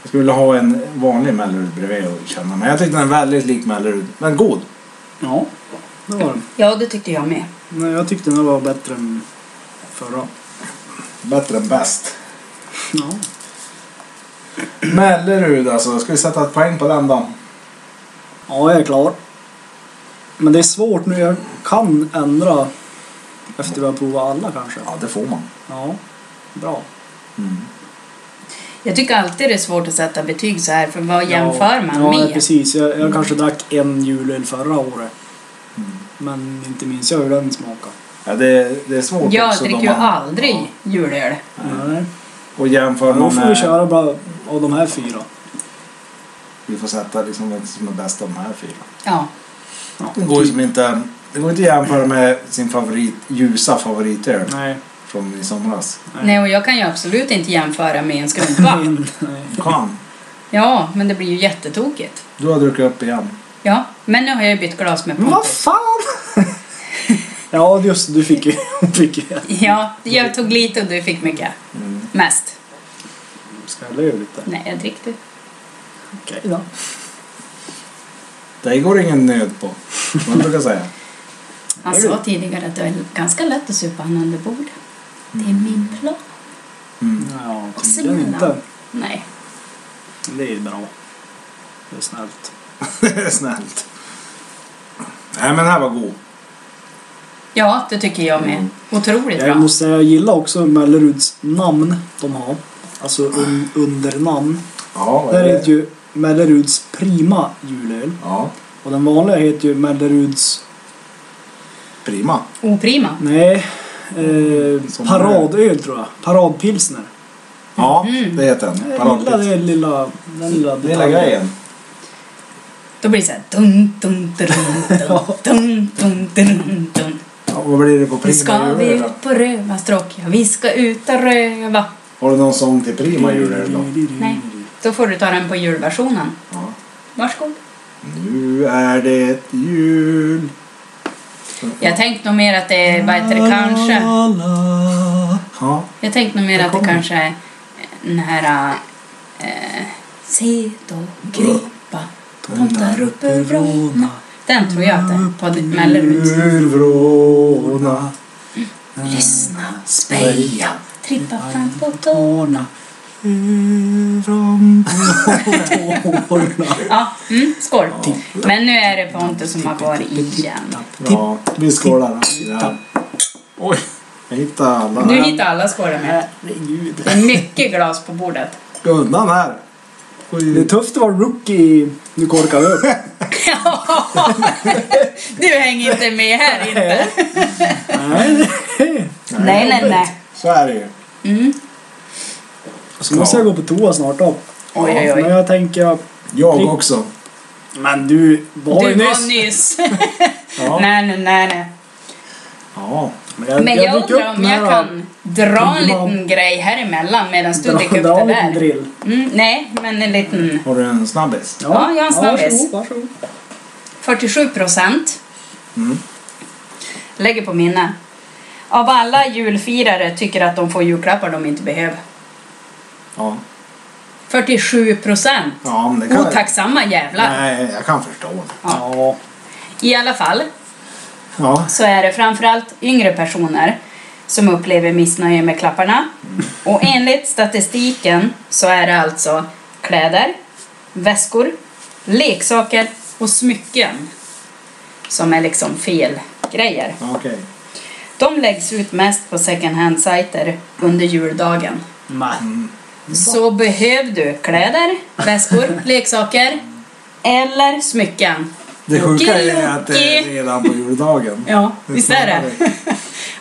Speaker 1: Jag skulle vilja ha en vanlig Mellerud bredvid och känna. Men jag tyckte den är väldigt lik Mellerud. Men god.
Speaker 3: Ja, det var den.
Speaker 2: Ja, det tyckte jag med.
Speaker 3: Nej, jag tyckte den var bättre än förra.
Speaker 1: Bättre än bäst.
Speaker 3: Ja.
Speaker 1: Mellerud alltså. Ska vi sätta ett poäng på den då?
Speaker 3: Ja, jag är klar. Men det är svårt nu. Jag kan ändra efter vi har provat alla kanske.
Speaker 1: Ja, det får man.
Speaker 3: Ja, bra.
Speaker 2: Jag tycker alltid det är svårt att sätta betyg så här, för vad jämför man
Speaker 3: ja, Ja,
Speaker 2: med?
Speaker 3: precis. Jag, jag kanske drack en julöl förra året. Mm. Men inte minns jag hur den smakade.
Speaker 1: Ja, det, det är svårt
Speaker 2: Jag
Speaker 1: också. då
Speaker 2: dricker ju
Speaker 1: man-
Speaker 2: aldrig julöl.
Speaker 3: Nej.
Speaker 1: Och jämför
Speaker 3: Då
Speaker 1: man
Speaker 3: får vi
Speaker 1: med...
Speaker 3: köra bara av de här fyra.
Speaker 1: Vi får sätta liksom det som är bäst av de här fyra.
Speaker 2: Ja.
Speaker 1: Det går ju som inte... Det går inte att jämföra med sin favorit, ljusa favoritöl
Speaker 3: Nej.
Speaker 1: från i somras.
Speaker 3: Nej.
Speaker 2: Nej, och jag kan ju absolut inte jämföra med en skrumpa.
Speaker 3: En, nej.
Speaker 1: Kan.
Speaker 2: Ja, men det blir ju jättetokigt.
Speaker 1: Du har druckit upp igen.
Speaker 2: Ja, men nu har jag ju bytt glas med
Speaker 3: Men vad
Speaker 2: Pontus.
Speaker 3: fan! ja, just det, du fick ju... hon fick ju en.
Speaker 2: Ja, jag tog lite och du fick mycket.
Speaker 1: Mm.
Speaker 2: Mest.
Speaker 3: Ska jag leva lite?
Speaker 2: Nej, jag drick du.
Speaker 3: Okej då.
Speaker 1: Det går ingen nöd på. Som man brukar säga.
Speaker 2: Han
Speaker 3: Är du?
Speaker 2: sa tidigare att det är ganska lätt att supa han under bord. Det är min plan.
Speaker 3: Ja,
Speaker 2: Och
Speaker 3: tydligen
Speaker 2: sen
Speaker 3: inte.
Speaker 2: Nej.
Speaker 3: Det är bra. Det är snällt.
Speaker 1: Det är Snällt. Nej men den här var god.
Speaker 2: Ja, det tycker jag med. Otroligt bra.
Speaker 3: Mm. Jag måste säga, jag gillar också Melleruds namn de har. Alltså un, undernamn.
Speaker 1: Ja, vad
Speaker 3: Där
Speaker 1: är det?
Speaker 3: heter ju Melleruds prima julöl.
Speaker 1: Ja,
Speaker 3: Och den vanliga heter ju Melleruds...
Speaker 1: prima.
Speaker 2: Oprima.
Speaker 3: Nej. Eh,
Speaker 1: Som-
Speaker 3: paradöl tror jag. Paradpilsner.
Speaker 1: Ja, det heter den.
Speaker 3: Mm. Jag gillar
Speaker 1: Paradpils.
Speaker 3: det lilla... Den lilla,
Speaker 1: Lilla
Speaker 3: detaljen.
Speaker 1: grejen.
Speaker 2: Då blir det så här... Dun, dun, dun, dun, dun, dun, dun, dun.
Speaker 1: Ja, vad blir det på
Speaker 2: Nu
Speaker 1: prima
Speaker 2: ska vi
Speaker 1: julöl då?
Speaker 2: ut på rövarstråk. Ja, vi ska ut och röva.
Speaker 1: Har du någon sång till prima julöl då?
Speaker 3: Mm.
Speaker 2: Nej, då får du ta den på julversionen.
Speaker 1: Ja.
Speaker 2: Varsågod.
Speaker 1: Nu är det jul.
Speaker 2: Jag tänkte nog mer att det är... Vad heter det? Kanske...
Speaker 3: La, la.
Speaker 1: Ja.
Speaker 2: Jag tänkte nog mer
Speaker 1: Det
Speaker 2: att det
Speaker 1: kommer.
Speaker 2: kanske eh, är den här... Eh, se då gripa
Speaker 3: De där uppe i Vrona.
Speaker 2: Den tror jag att det är på ditt Mellerud.
Speaker 1: Ur Vrona.
Speaker 2: Lyssna, speja, trippa fram på tå.
Speaker 3: Tårna. Ur Vrån på tårna.
Speaker 2: Ja, mm, skål. Men nu är det Pontus som har varit igen.
Speaker 1: Ja, vi skålar. Ja. Oj, jag hittade alla.
Speaker 2: Du
Speaker 1: här.
Speaker 2: hittar alla skålar med.
Speaker 3: Herregud.
Speaker 2: Det är mycket glas på bordet.
Speaker 1: Gå undan här.
Speaker 3: Det är tufft att vara rookie. Nu korkar vi upp.
Speaker 2: Du hänger inte med här inte.
Speaker 3: Nej.
Speaker 2: Nej, nej, nej.
Speaker 1: Så är det ju.
Speaker 2: Mm.
Speaker 3: Så måste jag gå på toa snart då.
Speaker 2: Oj, oj,
Speaker 3: Men
Speaker 2: oj.
Speaker 3: jag tänker...
Speaker 2: Typ.
Speaker 1: Jag också.
Speaker 3: Men du var
Speaker 2: Du
Speaker 3: ju
Speaker 2: var
Speaker 3: nyss.
Speaker 2: nyss.
Speaker 1: Ja.
Speaker 2: Nej, nej, nej, nej.
Speaker 1: ja.
Speaker 2: Men jag
Speaker 3: dricker
Speaker 2: undrar om
Speaker 3: upp den här
Speaker 2: jag
Speaker 3: då.
Speaker 2: kan dra en
Speaker 3: Ja.
Speaker 2: liten grej här emellan medan du
Speaker 3: Dra-
Speaker 2: dricker upp
Speaker 3: dra
Speaker 2: det
Speaker 3: en liten
Speaker 2: där.
Speaker 3: drill.
Speaker 2: Mm, nej, men en liten
Speaker 1: Har du en snabbis?
Speaker 2: Ja, jag har en snabbis.
Speaker 3: varsågod, varsågod.
Speaker 2: 47 procent.
Speaker 1: Mm.
Speaker 2: Lägger på minne. Av alla julfirare tycker att de får julklappar de inte behöver.
Speaker 1: Ja.
Speaker 2: 47 procent.
Speaker 1: Ja, men det
Speaker 2: Oh,
Speaker 1: kan
Speaker 2: Otacksamma jävlar.
Speaker 1: Nej, jag kan förstå det.
Speaker 2: Ja.
Speaker 3: Ja.
Speaker 2: I alla fall
Speaker 1: Ja.
Speaker 2: så är det framförallt yngre personer som upplever missnöje med klapparna.
Speaker 1: Mm.
Speaker 2: Och enligt statistiken så är det alltså kläder, väskor, leksaker och smycken som är liksom fel grejer.
Speaker 1: ja, Okej.
Speaker 2: De läggs ut mest på second hand-sajter under juldagen.
Speaker 3: Men.
Speaker 1: Mm.
Speaker 2: Så behöver du kläder, väskor, leksaker eller smycken.
Speaker 1: Det sjuka är ju att det är
Speaker 2: Okej.
Speaker 1: redan på juldagen.
Speaker 2: Ja, visst är det?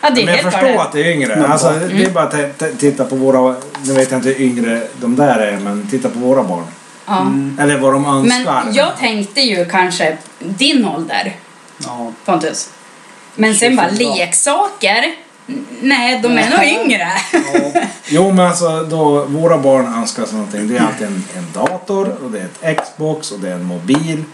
Speaker 2: Ja, det är
Speaker 1: Men jag
Speaker 2: helt
Speaker 1: förstår
Speaker 2: galet.
Speaker 1: att det är yngre. Alltså, det är bara att t- t- titta på våra, nu vet jag inte hur yngre de där är, men titta på våra barn.
Speaker 2: Ja.
Speaker 1: Eller vad de önskar.
Speaker 2: Men jag tänkte ju kanske din ålder,
Speaker 3: Ja.
Speaker 2: Pontus. Men sen bara
Speaker 3: 25 bra.
Speaker 2: leksaker? N- Nej, de är nog yngre.
Speaker 1: Jo men alltså då våra barn önskar sig någonting. Det är alltid en, en dator och det är ett Xbox och det är en mobil.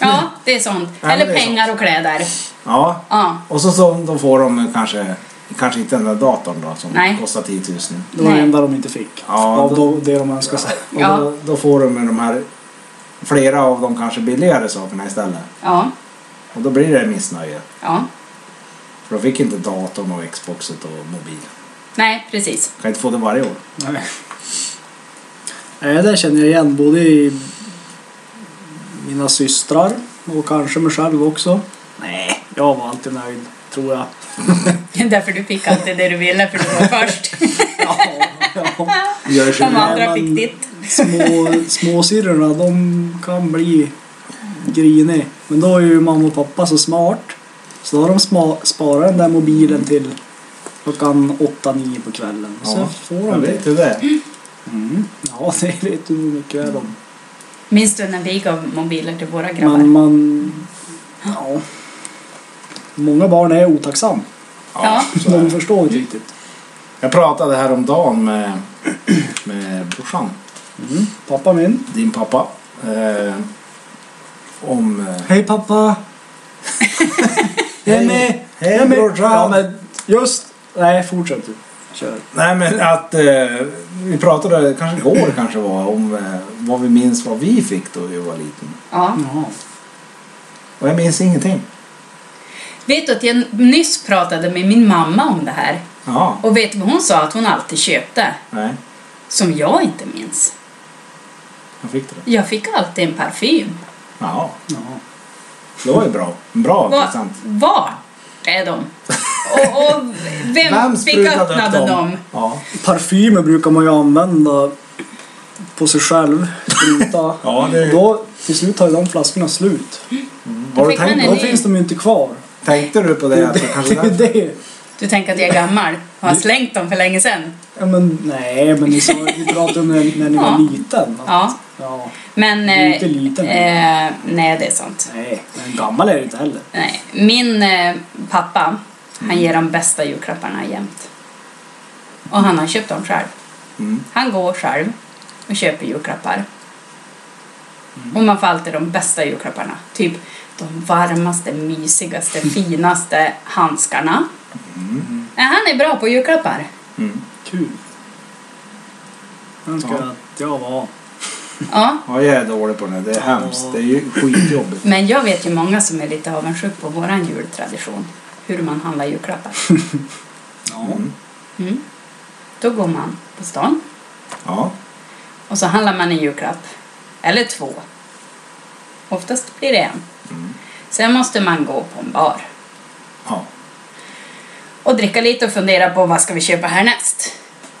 Speaker 2: Ja, det är sånt.
Speaker 1: men
Speaker 2: Eller
Speaker 1: det är
Speaker 2: pengar och kläder.
Speaker 1: Ja.
Speaker 2: Ja.
Speaker 1: Och så, så då får de kanske, kanske inte den där datorn då som
Speaker 2: Nej.
Speaker 1: kostar 10 000.
Speaker 3: Det var det
Speaker 2: Nej.
Speaker 3: enda de inte fick.
Speaker 1: Ja,
Speaker 3: Av
Speaker 1: då-
Speaker 3: då, det de önskade sig.
Speaker 1: Och
Speaker 2: Ja.
Speaker 1: då, då får de ju de här, flera av de kanske billigare sakerna istället.
Speaker 2: Ja,
Speaker 1: Och då blir det missnöje.
Speaker 2: ja.
Speaker 1: För de fick inte datorn och Xboxet och mobilen.
Speaker 2: Nej, precis.
Speaker 1: Kan inte få det varje år.
Speaker 3: Nej. Nej, det känner jag igen både i mina systrar och kanske mig själv också. Nej, jag var alltid nöjd, tror jag.
Speaker 2: Därför du fick alltid det du ville, för du var först.
Speaker 3: Ja, ja.
Speaker 1: Gör sig
Speaker 2: De
Speaker 1: ja.
Speaker 2: andra
Speaker 3: men-
Speaker 2: fick ditt.
Speaker 3: Små, småsyrrorna, de kan bli grinig. Men då är ju mamma och pappa så smart. Så då har de sma- sparat den där mobilen till klockan 8-9 på kvällen. Så får
Speaker 1: jag
Speaker 3: de
Speaker 1: vet
Speaker 3: det.
Speaker 1: ju det.
Speaker 3: Mm. Ja, det vet du mycket väl om.
Speaker 2: Minns du när vi gav mobiler till våra grabbar?
Speaker 3: Men man... Ja. Många barn är otacksamma.
Speaker 2: Ja.
Speaker 1: så är
Speaker 3: De
Speaker 1: det.
Speaker 3: förstår inte riktigt.
Speaker 1: Jag pratade häromdagen med, med brorsan.
Speaker 3: Mm. Pappa min.
Speaker 1: din pappa. Eh, om... Eh,
Speaker 3: Hej pappa! jag är med!
Speaker 1: Hej,
Speaker 3: jag är med!
Speaker 1: brorsan.
Speaker 3: Ja, men just... Nej, fortsätt du. Kör.
Speaker 1: nej men att eh, vi pratade, kanske igår kanske var, om eh, vad vi minns vad vi fick då vi var liten.
Speaker 2: Ja.
Speaker 3: Jaha.
Speaker 1: Och jag minns ingenting.
Speaker 2: Vet du att jag nyss pratade med min mamma om det här?
Speaker 1: Ja,
Speaker 2: Och vet du vad hon sa att hon alltid köpte?
Speaker 1: nej.
Speaker 2: Som jag inte minns.
Speaker 1: Jag fick det. då.
Speaker 2: Jag fick alltid en parfym.
Speaker 1: Ja,
Speaker 3: Ja.
Speaker 1: det var ju bra. Bra
Speaker 2: Va-
Speaker 1: present.
Speaker 2: Var är de? Och, och vem, fick
Speaker 1: sprutade
Speaker 2: öppna dem? dem?
Speaker 1: Ja.
Speaker 3: Parfymer brukar man ju använda på sig själv. Spruta.
Speaker 1: Ja, det-
Speaker 3: Då till slut tar ju de flaskorna slut.
Speaker 1: Var du
Speaker 2: fick man
Speaker 1: tänkt,
Speaker 2: en
Speaker 3: Då
Speaker 2: ny.
Speaker 1: då,
Speaker 3: finns de ju inte kvar.
Speaker 1: tänkte du på det? Att det kanske
Speaker 3: Det är
Speaker 1: där,
Speaker 3: det.
Speaker 2: Du tänker att jag är gammal och har slängt dem för länge sedan.
Speaker 3: Ja, men, nej, men ni, sa, ni pratade om när, när ni
Speaker 2: Ja.
Speaker 3: var liten. att-
Speaker 2: Ja,
Speaker 3: ja.
Speaker 2: men...
Speaker 3: Du är inte
Speaker 2: eh,
Speaker 3: liten.
Speaker 2: Eh, nej, det är sant.
Speaker 3: Nej, men gammal är det inte heller.
Speaker 2: Nej. Min eh, pappa, han ger de bästa julklapparna jämt. Och han har köpt dem själv.
Speaker 1: mm.
Speaker 2: Han går själv och köper julklappar. Och man får alltid de bästa julklapparna. Typ de varmaste, mysigaste, finaste handskarna. Nej, han är bra på julklappar.
Speaker 1: Mm.
Speaker 3: Kul. Den ska
Speaker 1: Ja.
Speaker 3: jag att jag var.
Speaker 2: Ja.
Speaker 1: Ja, jag är dålig på det. Det är hemskt. Det är ju skitjobbigt.
Speaker 2: Men jag vet ju många som är lite avundsjuka på våran jultradition. Hur man handlar julklappar.
Speaker 3: Ja.
Speaker 1: Mm.
Speaker 2: Mm. Då går man på stan
Speaker 1: Ja.
Speaker 2: och så handlar man en julklapp. Eller två. Oftast blir det en.
Speaker 1: Mm.
Speaker 2: Sen måste man gå på en bar
Speaker 1: ja.
Speaker 2: och dricka lite och fundera på vad ska vi köpa härnäst.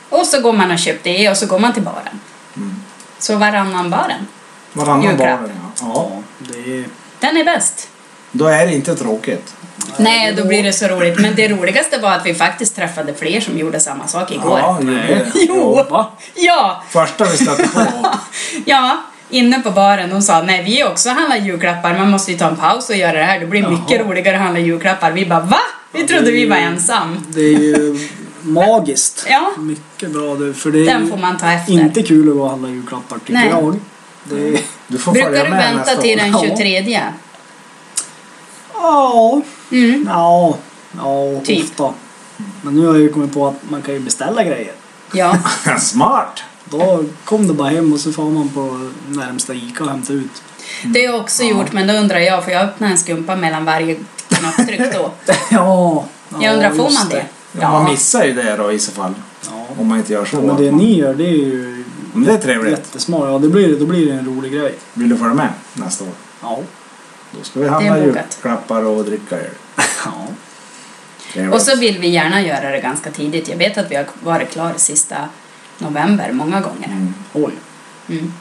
Speaker 2: Och så går man och köper det och så går man till baren.
Speaker 1: Mm.
Speaker 2: Så varannan baren.
Speaker 1: Varannan
Speaker 2: Julklapp.
Speaker 1: barn, ja. ja.
Speaker 3: ja, det är...
Speaker 2: Den är bäst.
Speaker 1: Då är det inte tråkigt.
Speaker 2: Nej, då blir det så roligt. Men det roligaste var att vi faktiskt träffade fler som gjorde samma sak igår.
Speaker 1: Ja, det är det.
Speaker 2: Jo!
Speaker 3: Va?
Speaker 2: Ja!
Speaker 1: Första vi stötte på.
Speaker 2: Ja, inne på baren. De sa nej, vi också handlar julklappar. Man måste ju ta en paus och göra det här. Det blir mycket roligare att handla julklappar. Vi bara va? Vi trodde vi var ensam.
Speaker 3: Det är ju magiskt.
Speaker 2: Ja.
Speaker 3: Mycket bra du, för det är
Speaker 2: Den
Speaker 3: ju
Speaker 2: får man ta efter.
Speaker 3: inte kul att gå och handla julklappar tycker
Speaker 2: Nej. Mm.
Speaker 3: jag. Det är...
Speaker 1: Du får följa
Speaker 2: Brukar du
Speaker 1: med
Speaker 2: vänta
Speaker 1: nästa
Speaker 2: till
Speaker 1: år.
Speaker 2: den
Speaker 3: Ja.
Speaker 2: 23?
Speaker 3: Ja,
Speaker 2: Mm.
Speaker 3: ja, ja
Speaker 2: Typ.
Speaker 3: ofta. Men nu har jag ju kommit på att man kan ju beställa grejer.
Speaker 2: Ja,
Speaker 1: Smart!
Speaker 3: Då kom det bara hem och så får man på närmsta Ica och hämta ut.
Speaker 2: det har jag också gjort. Men då undrar jag, får jag öppna en skumpa mellan varje knapptryck då?
Speaker 3: Ja, ja
Speaker 2: Jag undrar, får
Speaker 3: just
Speaker 2: man det?
Speaker 1: Ja. Man missar ju det då i så fall.
Speaker 3: Ja.
Speaker 1: Om man inte gör så.
Speaker 3: Men det ni gör det är ju
Speaker 1: Men det är trevligt.
Speaker 3: jättesmart. Ja, det blir, då blir det en rolig grej.
Speaker 1: Vill du följa med nästa år?
Speaker 3: Ja.
Speaker 1: Då ska vi handla
Speaker 2: Det är bokat.
Speaker 1: julklappar och dricka öl.
Speaker 3: ja.
Speaker 1: Trevligt.
Speaker 2: Och så vill vi gärna göra det ganska tidigt. Jag vet att vi har varit klar sista november många gånger.
Speaker 1: Mm.
Speaker 3: Oj.
Speaker 2: Mm.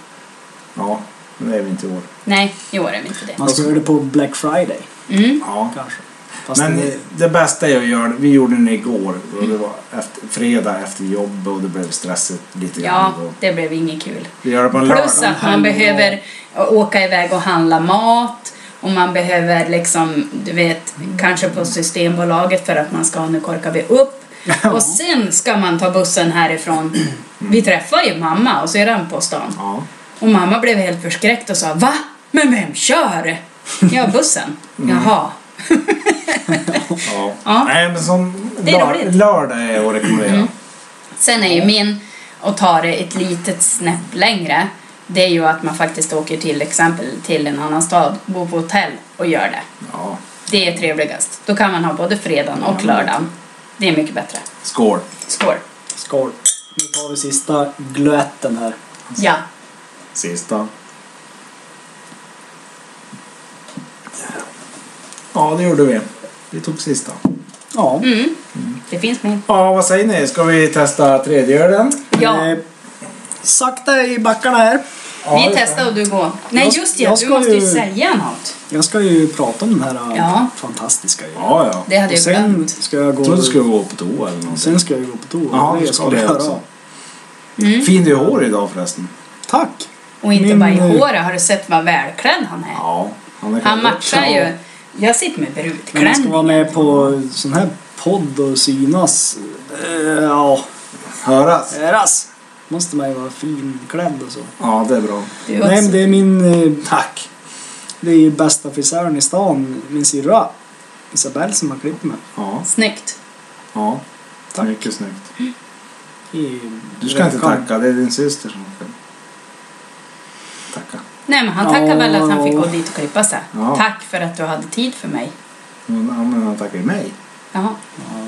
Speaker 1: Ja, men det är vi inte i år.
Speaker 2: Nej, i år är vi inte det.
Speaker 3: Man ska göra det på Black Friday
Speaker 2: Mm.
Speaker 1: Ja.
Speaker 3: kanske. Fast
Speaker 1: Men
Speaker 3: det,
Speaker 1: det Mm. bästa jag gör, vi gjorde det igår och det var efter, fredag efter jobb och det blev stressigt lite
Speaker 2: Ja,
Speaker 1: grann. Och
Speaker 2: det blev inget kul.
Speaker 1: Vi gör det på en
Speaker 2: Plus
Speaker 1: lördag.
Speaker 2: att man behöver åka iväg och handla mat och man behöver liksom, du vet, kanske på Systembolaget för att man ska, nu korkar vi upp. Och sen ska man ta bussen härifrån. Vi träffar ju mamma och syrran på stan.
Speaker 1: Ja.
Speaker 2: Och mamma blev helt förskräckt och sa Va? Men vem kör? Ja, bussen. Jaha.
Speaker 1: Ja.
Speaker 2: Ja.
Speaker 1: Nej, men som
Speaker 2: Det är roligt. Mm.
Speaker 1: lördag är att rekommendera.
Speaker 2: Sen är ju min, och ta det ett litet snäpp längre, det är ju att man faktiskt åker till exempel till en annan stad, bor på hotell och gör det.
Speaker 1: Ja.
Speaker 2: Det är trevligast. Då kan man ha både fredagen och lördagen. Det är mycket bättre.
Speaker 1: Skål!
Speaker 2: Skål!
Speaker 3: skål. Nu tar vi sista glöten här.
Speaker 2: Ja.
Speaker 1: Sista. Ja, det gjorde vi. Vi tog sista.
Speaker 3: Ja.
Speaker 2: Mm. Det finns mer.
Speaker 1: Ja, vad säger ni? Ska vi testa tredje ölen?
Speaker 2: Ja,
Speaker 3: Eh, sakta i backarna här.
Speaker 1: Ja,
Speaker 2: vi testar och du går. Nej,
Speaker 3: Jag-
Speaker 2: just det.
Speaker 3: jag
Speaker 2: Du
Speaker 3: ska
Speaker 2: måste ju
Speaker 3: ju-
Speaker 2: säga något.
Speaker 3: Jag ska ju prata om den här eh,
Speaker 2: Ja.
Speaker 3: fantastiska ju.
Speaker 1: Ja, ja.
Speaker 2: Det hade
Speaker 3: Och
Speaker 2: jag glömt.
Speaker 3: sen ska jag
Speaker 1: Jag trodde
Speaker 3: gå...
Speaker 1: du skulle gå på toa eller någonting.
Speaker 3: Sen ska jag gå på toa.
Speaker 1: Ja,
Speaker 3: är
Speaker 1: du ska det också.
Speaker 2: Mm.
Speaker 1: Fin du är i hår idag förresten.
Speaker 3: Tack!
Speaker 2: Och inte
Speaker 3: Min,
Speaker 2: bara i
Speaker 3: eh,
Speaker 2: håret. Har du sett vad välklädd han är?
Speaker 1: Ja. Han, är
Speaker 2: Han
Speaker 1: skön.
Speaker 2: matchar
Speaker 1: Ja.
Speaker 2: ju. Jag sitter med
Speaker 3: Men man ska vara
Speaker 2: brudklänning.
Speaker 3: med på sån här podd och synas. Eh, Ja,
Speaker 1: Höras.
Speaker 3: äras. Måste man ju vara finklädd och så.
Speaker 1: Ja, det är bra.
Speaker 2: Du
Speaker 3: Nej, men
Speaker 2: också.
Speaker 3: det är min... eh, Tack! Det är ju bästa frisören i stan, min syrra. Isabelle som har klippt mig.
Speaker 1: Ja.
Speaker 2: Snyggt.
Speaker 1: ja. Mycket snyggt.
Speaker 3: I
Speaker 1: Du ska inte
Speaker 3: veckan.
Speaker 1: tacka, det är din syster som ska tacka.
Speaker 2: Nej, men han tackar
Speaker 3: Ja.
Speaker 2: väl att han fick gå dit och klippa sig.
Speaker 1: Ja.
Speaker 2: Tack för att du hade tid för mig.
Speaker 1: Hon använder tackar ju mig.
Speaker 2: Jaha.
Speaker 3: Ja,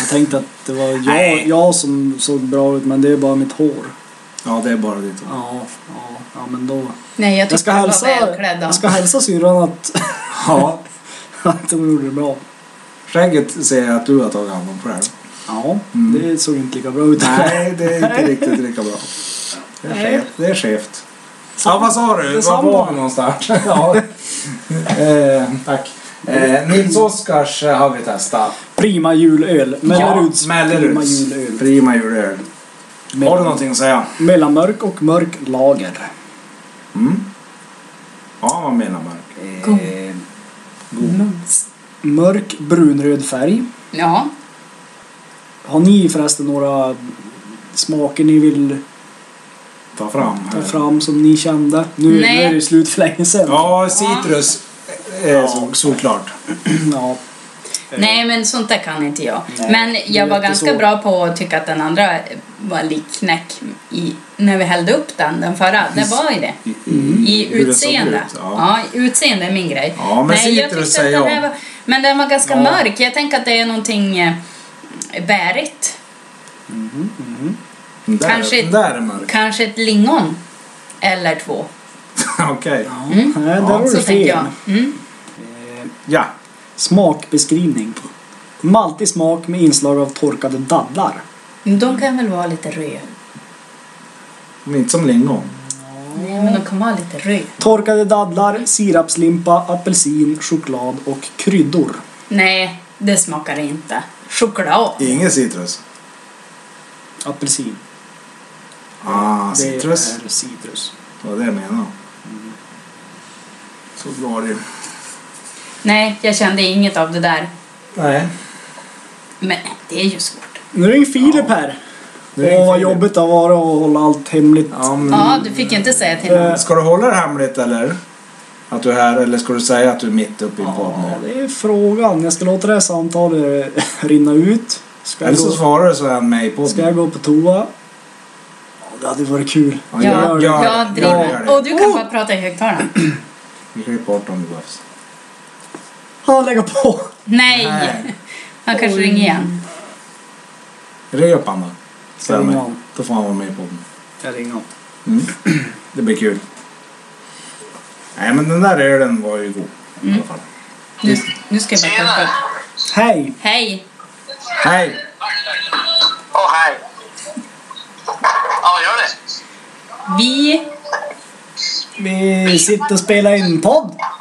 Speaker 3: Jag tänkte att det var jag,
Speaker 1: Nej.
Speaker 3: jag som såg bra ut, men det är bara mitt hår.
Speaker 1: Ja, det är bara ditt hår.
Speaker 3: Ja, ja, ja men då.
Speaker 2: Nej, jag
Speaker 3: Jag ska
Speaker 2: tyckte han var
Speaker 3: hälsa,
Speaker 2: välklädd.
Speaker 3: jag ska hälsa syrran att,
Speaker 1: Ja.
Speaker 3: att hon gjorde det bra.
Speaker 1: Skägget säger jag att du har tagit hand om själv.
Speaker 3: Ja,
Speaker 1: Mm.
Speaker 3: det såg inte lika bra ut.
Speaker 1: Nej, det är inte riktigt lika bra. Det är
Speaker 3: Nej.
Speaker 1: skevt. Det är skevt. Ja, vad sa du? Var
Speaker 3: Detsamma.
Speaker 1: var vi någonstans? ja. eh, tack. Eh, Nils Oskars har vi testat.
Speaker 3: Prima julöl. Melleruds.
Speaker 1: Ja, Melleruds.
Speaker 3: Prima julöl.
Speaker 1: Prima julöl. Har du
Speaker 3: Mellan-
Speaker 1: någonting att säga?
Speaker 3: Mellanmörk och mörk lager.
Speaker 1: Mm. Ja, vad menar man?
Speaker 2: God.
Speaker 3: Eh,
Speaker 1: Mm.
Speaker 2: Mums.
Speaker 3: mörk brunröd färg.
Speaker 2: Ja.
Speaker 3: Har ni förresten några smaker ni vill
Speaker 1: Ta fram.
Speaker 3: ta fram som ni kände? Nu, nu
Speaker 2: Nej.
Speaker 3: är det slut för länge sedan.
Speaker 1: Ja, citrus. Eh, så- Såklart.
Speaker 3: Ja.
Speaker 2: Nej, men sånt där kan inte jag.
Speaker 3: Nej,
Speaker 2: men
Speaker 3: det
Speaker 2: jag
Speaker 3: är
Speaker 2: var
Speaker 3: inte
Speaker 2: ganska
Speaker 3: så.
Speaker 2: bra på att tycka att den andra var lik knäck i, när vi hällde upp den, den förra. Det var ju det.
Speaker 3: Mm.
Speaker 2: I
Speaker 1: Mm. Hur den såg
Speaker 2: utseende.
Speaker 1: ut, ja.
Speaker 2: ja. utseende är min grej.
Speaker 1: Ja, men så
Speaker 2: jag
Speaker 1: inte det att
Speaker 2: tyckte att
Speaker 1: säga
Speaker 2: den
Speaker 1: om.
Speaker 2: här var, Men den var ganska
Speaker 1: Ja.
Speaker 2: mörk. Jag tänker att det är någonting eh, bärigt.
Speaker 1: Den där,
Speaker 2: Kanske-
Speaker 1: den där är mörk.
Speaker 2: Kanske ett lingon. Eller två.
Speaker 1: Okej.
Speaker 3: Nej, där var
Speaker 2: Mm. Så
Speaker 3: du
Speaker 2: tänker jag.
Speaker 3: fel.
Speaker 2: Mm.
Speaker 3: Eh,
Speaker 1: Ja.
Speaker 3: Smakbeskrivning. Maltig smak med inslag av torkade dadlar.
Speaker 2: Men Mm. De kan väl vara lite röda?
Speaker 1: Men inte som lingon.
Speaker 2: Nej, men de kan vara lite röda.
Speaker 3: Torkade dadlar, sirapslimpa, apelsin, choklad och kryddor.
Speaker 2: Nej, det smakar det inte. Choklad.
Speaker 1: Ingen citrus.
Speaker 3: Apelsin.
Speaker 1: Ah, citrus.
Speaker 3: Det är citrus.
Speaker 1: Det var det jag menade. Så var det ju.
Speaker 2: Nej, jag kände inget av det där.
Speaker 1: Nej.
Speaker 2: Men det är ju svårt.
Speaker 3: Nu ringer Filip här.
Speaker 1: Nu ringer
Speaker 3: Åh, vad
Speaker 1: Filip.
Speaker 3: jobbigt det var att hålla allt hemligt.
Speaker 1: Ja, men,
Speaker 2: Ja, du fick inte säga till någon.
Speaker 1: Ska du hålla det hemligt eller? Att du är här eller ska du säga att du är mitt uppe i en podd
Speaker 3: Ja,
Speaker 1: nu?
Speaker 3: det är frågan. Jag ska låta det här samtalet rinna ut. Ska
Speaker 1: Eller
Speaker 3: jag,
Speaker 1: så
Speaker 3: gå,
Speaker 1: svarar du så är han med i podden.
Speaker 3: ska jag gå på toa? Ja, det hade varit kul.
Speaker 1: Ja,
Speaker 2: Ja,
Speaker 1: gör- gör
Speaker 2: jag Oh!
Speaker 1: det, gör
Speaker 2: driver.
Speaker 1: det.
Speaker 2: Och du kan bara prata i högtalaren.
Speaker 1: Vi klipper bort om det behövs.
Speaker 3: Han lägger på.
Speaker 2: Nej!
Speaker 1: Nej.
Speaker 2: Han kanske
Speaker 3: Oj.
Speaker 2: ringer igen.
Speaker 1: Ring upp han då.
Speaker 3: Ska jag
Speaker 1: Ställ mig.
Speaker 3: ringa honom?
Speaker 1: Då får han vara med i podden.
Speaker 3: Jag ringer honom.
Speaker 1: Mm. Det blir kul. Nej men den där ölen var ju god. I alla fall.
Speaker 2: Nu, nu ska jag bara prata.
Speaker 3: Hej!
Speaker 2: Hej!
Speaker 1: Hej!
Speaker 4: Åh, hej. Ja, gör det.
Speaker 2: Vi...
Speaker 3: Vi sitter och spelar in podd.
Speaker 4: Ja.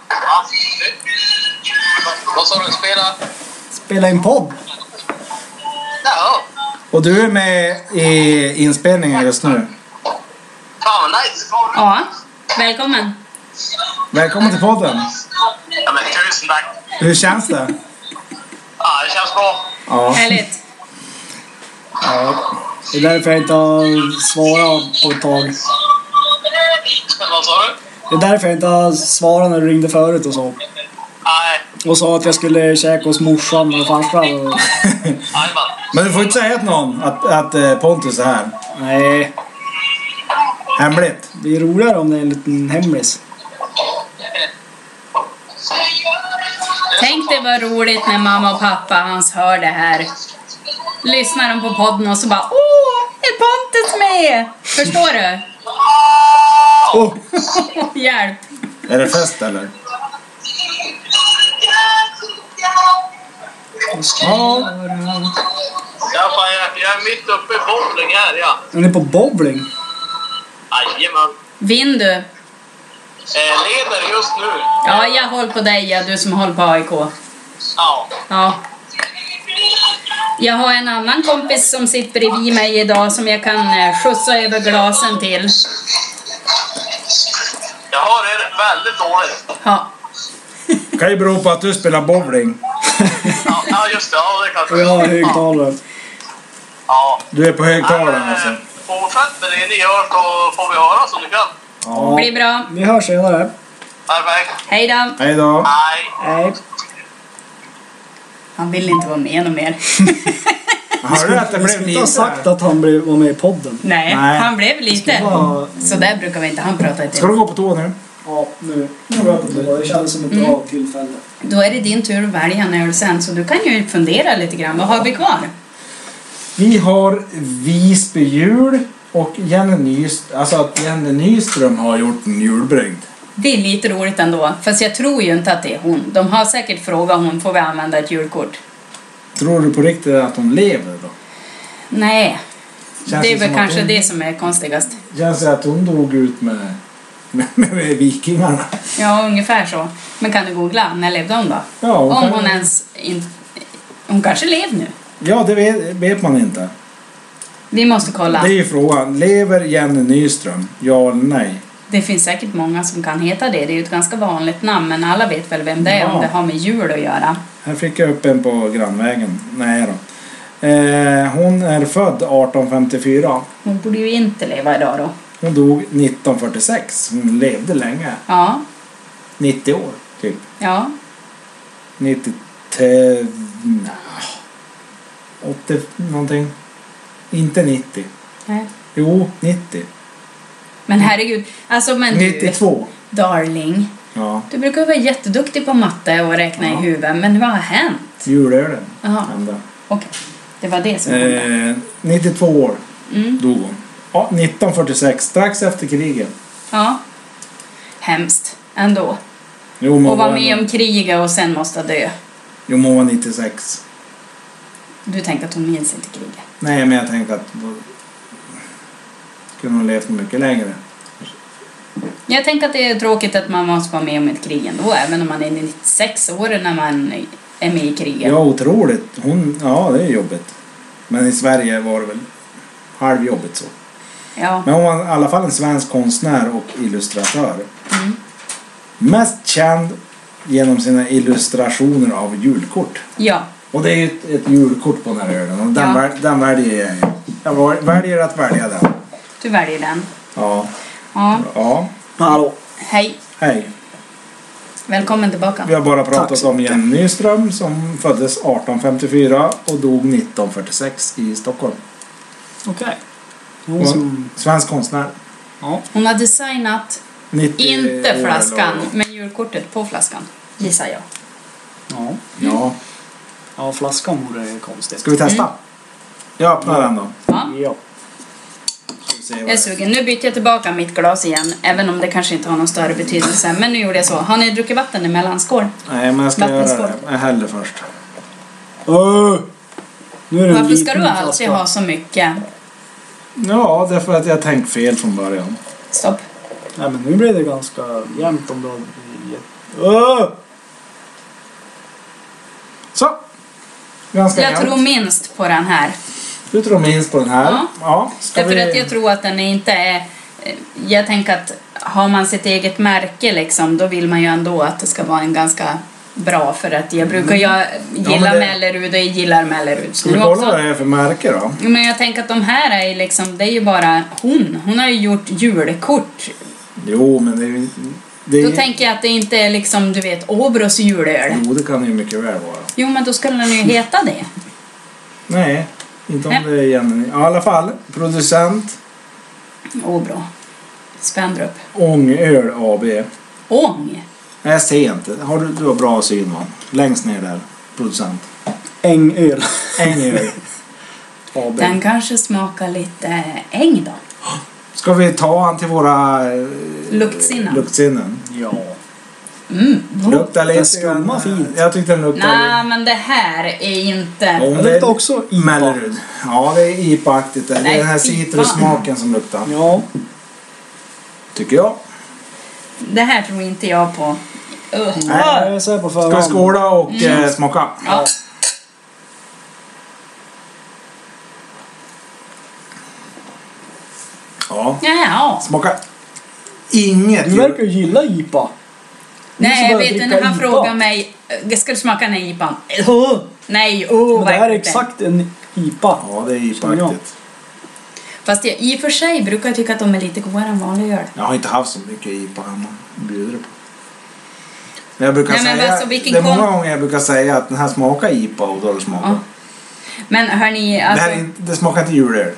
Speaker 4: Vad sa du? Spela?
Speaker 3: Spelar in podd.
Speaker 4: Jaha.
Speaker 1: Och du är med i inspelningen just nu.
Speaker 4: Fan vad nice.
Speaker 2: Ja, välkommen.
Speaker 1: Välkommen till podden.
Speaker 4: Ja, men tusen tack.
Speaker 1: Hur känns det?
Speaker 4: Ja, det känns bra.
Speaker 1: Ja.
Speaker 2: Härligt.
Speaker 3: Det är därför jag inte har svarat på ett tag.
Speaker 4: Vad sa du?
Speaker 3: Det är därför jag inte har svarat när du ringde förut och så.
Speaker 4: Nej,
Speaker 3: Och sa att jag skulle käka hos morsan och farsan. Och...
Speaker 4: jajamän.
Speaker 1: Men du får inte säga till någon att, att eh, Pontus är här.
Speaker 3: Nej,
Speaker 1: Hemligt.
Speaker 3: det är roligare om det är en liten hemlis.
Speaker 2: Tänk det var roligt när mamma och pappa hans hör det här. Lyssnar de på podden och så bara Åh, är Pontus med? Förstår du?
Speaker 3: Åh,
Speaker 2: Hjälp!
Speaker 1: Är det fest eller? Ja.
Speaker 4: Ja, fan, jag, jag är mitt uppe i bowling här, ja.
Speaker 3: Den är på bowling.
Speaker 4: Jajamän.
Speaker 2: Vinn du!
Speaker 4: Eh, leder just nu.
Speaker 2: Ja, jag håller på dig, ja, du som håller på AIK.
Speaker 4: Ja.
Speaker 2: Ja. Jag har en annan kompis som sitter bredvid mig idag som jag kan eh, skjutsa över glasen till.
Speaker 4: Jag har er väldigt dåligt.
Speaker 2: Ja.
Speaker 1: Kan ju bero på att du spelar bowling.
Speaker 4: Ja, ja just det. Ja, det kanske
Speaker 3: Och jag har högtalare.
Speaker 4: Ja.
Speaker 1: Du är på högtalaren
Speaker 4: Nej,
Speaker 1: alltså.
Speaker 4: men, Fortsätt med det ni gör så får vi höra så ni kan.
Speaker 1: Ja.
Speaker 2: Blir bra.
Speaker 3: Vi hörs senare.
Speaker 4: Perfekt.
Speaker 2: Hej då!
Speaker 1: Hej då.
Speaker 4: Nej.
Speaker 3: Nej.
Speaker 2: Han vill inte vara med någon mer.
Speaker 1: Hörde du att det
Speaker 3: Vi
Speaker 1: blev
Speaker 3: skulle
Speaker 1: lite?
Speaker 3: inte ha sagt att han blev, var med i podden.
Speaker 2: Nej,
Speaker 1: Nej.
Speaker 2: han blev lite.
Speaker 3: Ja,
Speaker 2: Så där brukar vi inte han prata
Speaker 1: Ska
Speaker 2: till.
Speaker 1: du gå på toa nu?
Speaker 3: ja nu. Nu går jag på toa. Det kändes som ett bra tillfälle.
Speaker 2: Då är det din tur att välja en öl sen, så du kan ju fundera lite grann. Vad har vi kvar?
Speaker 1: Vi har Visby jul och Jenny Nyström, alltså att Jenny Nyström har gjort en julbrygd.
Speaker 2: Det är lite roligt ändå, fast jag tror ju inte att det är hon. De har säkert frågat hon, får vi använda ett julkort?
Speaker 1: Tror du på riktigt att hon lever då?
Speaker 2: Nej,
Speaker 1: Känns
Speaker 2: det är
Speaker 1: som
Speaker 2: väl
Speaker 1: att
Speaker 2: kanske
Speaker 1: hon,
Speaker 2: det som är konstigast.
Speaker 1: Känns det att hon dog ut med, med, med, med vikingarna?
Speaker 2: Ja, ungefär så. Men kan du googla, när levde hon då?
Speaker 1: Ja, hon
Speaker 2: Om
Speaker 1: kan-
Speaker 2: hon ens... In... Hon kanske lever nu.
Speaker 1: Ja, det vet, vet man inte.
Speaker 2: Vi måste kolla.
Speaker 1: Det är
Speaker 2: Det...
Speaker 1: ju frågan. Lever Jenny Nyström? Ja eller nej?
Speaker 2: finns säkert många som kan heta det. Det är ju ett ganska vanligt namn, men alla vet väl vem det är
Speaker 1: Ja.
Speaker 2: om det har med jul att göra.
Speaker 1: Här fick jag upp en på grannvägen. Nej då. Eh, hon är född 1854.
Speaker 2: Hon borde ju inte leva idag då.
Speaker 1: Hon dog 1946. Hon levde länge.
Speaker 2: Ja,
Speaker 1: 90 år, typ.
Speaker 2: ja.
Speaker 1: 90, 80... nja, 80 någonting. Inte 90.
Speaker 2: Nej.
Speaker 1: Jo, 90.
Speaker 2: Men herregud, alltså men du,
Speaker 1: 92.
Speaker 2: darling.
Speaker 1: Ja,
Speaker 2: Du brukar vara jätteduktig på matte och räkna i
Speaker 1: Ja.
Speaker 2: huvudet, men vad har hänt?
Speaker 1: julölen
Speaker 2: Jaha,
Speaker 1: hände.
Speaker 2: okej. Det var det som hände.
Speaker 1: Eh, 92 år
Speaker 2: Mm.
Speaker 1: dog hon. Ja, 1946, strax efter kriget.
Speaker 2: Ja. Hemskt ändå.
Speaker 1: Jo, men
Speaker 2: Och
Speaker 1: hon
Speaker 2: vara
Speaker 1: var
Speaker 2: med
Speaker 1: ändå-
Speaker 2: om kriget och sen måste dö.
Speaker 1: Jo, men hon var 96.
Speaker 2: Du tänkte att hon minns inte kriget.
Speaker 1: Nej, men jag tänkte att... Då... Kunde hon levt mycket längre.
Speaker 2: Jag tänker att det är tråkigt att man måste vara med om ett krig ändå, även om man är 96 år när man är med i kriget.
Speaker 1: Ja, otroligt. Hon, ja, det är jobbigt. Men i Sverige var det väl halvjobbigt så.
Speaker 2: Ja.
Speaker 1: Men hon var i alla fall en svensk konstnär och illustratör.
Speaker 2: Mm.
Speaker 1: Mest känd genom sina illustrationer av julkort.
Speaker 2: ja.
Speaker 1: Och det är ju ett, ett julkort på den här ölen och den,
Speaker 2: Ja.
Speaker 1: väl, den väljer jag. ju. Jag val- väljer att välja den.
Speaker 2: Du väljer den.
Speaker 1: Ja.
Speaker 2: Ja.
Speaker 1: Ja.
Speaker 3: Hallå.
Speaker 2: Hej.
Speaker 1: Hej.
Speaker 2: Välkommen tillbaka.
Speaker 1: Vi har bara
Speaker 3: Tack
Speaker 1: pratat
Speaker 3: så
Speaker 1: om Jenny Nyström som föddes 1854 och dog 1946 i Stockholm.
Speaker 3: Okej. Hon
Speaker 2: Mm.
Speaker 1: Hon,
Speaker 3: som...
Speaker 1: svensk konstnär.
Speaker 3: Ja.
Speaker 2: Hon har designat,
Speaker 1: 90 år
Speaker 2: inte
Speaker 1: eller-
Speaker 2: flaskan, men julkortet på flaskan. Gissar jag.
Speaker 3: Ja.
Speaker 1: Ja.
Speaker 3: Ja, flaskan vore konstigt.
Speaker 1: Ska vi testa?
Speaker 2: Mm.
Speaker 1: Jag öppnar den då.
Speaker 2: Ja.
Speaker 3: Ja.
Speaker 1: Ska vi se vad
Speaker 2: Jag är
Speaker 1: det-
Speaker 2: sugen. Nu byter jag tillbaka mitt glas igen, även om det kanske inte har någon större betydelse. Men nu gjorde jag så. Har ni druckit vatten emellan? Skål!
Speaker 1: Nej, men jag ska göra
Speaker 2: Vattenskål.
Speaker 1: det. Jag häller först.
Speaker 3: Öh! Nu är det en
Speaker 2: Varför ska
Speaker 3: liten
Speaker 2: du alltid
Speaker 3: flaska.
Speaker 2: ha så mycket?
Speaker 1: Ja, därför att jag tänkt fel från början.
Speaker 2: Stopp.
Speaker 3: Nej, men nu blev det ganska jämnt om du hade gett... Öh!
Speaker 1: Så! Ganska
Speaker 2: Jag
Speaker 1: jämnt.
Speaker 2: tror minst på den här.
Speaker 1: Du tror minst på den här.
Speaker 2: Ja.
Speaker 1: ja ska
Speaker 2: Därför
Speaker 1: vi...
Speaker 2: att jag tror att den inte är... eh, Jag tänker att har man sitt eget märke liksom, då vill man ju ändå att det ska vara en ganska bra för att jag brukar jag gillar
Speaker 1: Mm. det-
Speaker 2: Mellerud och jag gillar Mellerud.
Speaker 1: Ska vi
Speaker 2: Nu
Speaker 1: kolla
Speaker 2: också-
Speaker 1: vad det är för märke då?
Speaker 2: Jo, Men jag tänker att de här är ju liksom, det är ju bara hon. Hon har ju gjort julkort.
Speaker 1: Jo, men det är ju... Det
Speaker 2: Då
Speaker 1: är...
Speaker 2: tänker jag att det inte är liksom, du vet, Åbros julöl.
Speaker 1: Jo, det kan det ju mycket väl vara.
Speaker 2: Jo men då skulle den ju
Speaker 1: Mm.
Speaker 2: heta det.
Speaker 1: Nej, inte om
Speaker 2: Nej.
Speaker 1: det är Jenny. I alla fall, producent
Speaker 2: Åbro. Spendrup.
Speaker 1: Ångöl AB.
Speaker 2: Ång.
Speaker 1: Nej, jag ser inte. Har du, du har bra syn, va? Längst ner där. Producent.
Speaker 3: Ängöl.
Speaker 1: Ängöl AB.
Speaker 2: Den kanske smakar lite äng då.
Speaker 1: Ska vi ta han till våra eh,
Speaker 2: Luktsinnen.
Speaker 1: luktsinnen?
Speaker 3: Ja.
Speaker 2: Mm.
Speaker 1: Lukta lite.
Speaker 3: Den skummar
Speaker 1: grann.
Speaker 3: fint.
Speaker 1: Jag tyckte den luktade
Speaker 2: Nej, men det här är inte...
Speaker 1: Om
Speaker 3: Den
Speaker 1: det-
Speaker 3: luktar också IPA.
Speaker 1: lite. Mellerud. Ja, det är IPA-aktigt. Det är
Speaker 2: Nej,
Speaker 1: den här
Speaker 2: fy fan.
Speaker 1: citrussmaken som luktar.
Speaker 3: Ja.
Speaker 1: Tycker jag.
Speaker 2: Det här tror inte jag på. Ugh.
Speaker 3: Nej, jag är så här på förhand.
Speaker 1: Ska vi skåla och
Speaker 2: Mm.
Speaker 1: eh, smaka?
Speaker 2: Ja.
Speaker 1: Ja.
Speaker 2: Ja, ja.
Speaker 1: Smaka inget
Speaker 3: Du verkar ju gilla IPA. Du som
Speaker 2: Nej, jag
Speaker 3: börjar
Speaker 2: vet du, när
Speaker 3: dricka
Speaker 2: han
Speaker 3: IPA.
Speaker 2: frågar mig... "Eh, Ska du smaka den här IPAn?
Speaker 3: Åh!
Speaker 2: Nej, oh,
Speaker 3: Men det här är exakt en IPA.
Speaker 1: Ja, det är IPA-aktigt.
Speaker 2: Fast jag, i och för sig brukar jag tycka att de är lite godare än vanlig öl.
Speaker 1: Jag har inte haft så mycket IPA hemma. Jag bjuder på. Men jag brukar
Speaker 2: Nej, men
Speaker 1: säga,
Speaker 2: alltså, vilken
Speaker 1: det är många
Speaker 2: kon-
Speaker 1: gånger jag brukar säga att den här smakar IPA och då har det smakar.
Speaker 2: Ja. Men hörni, alltså...
Speaker 1: det, här är, inte- det smakar inte julöl.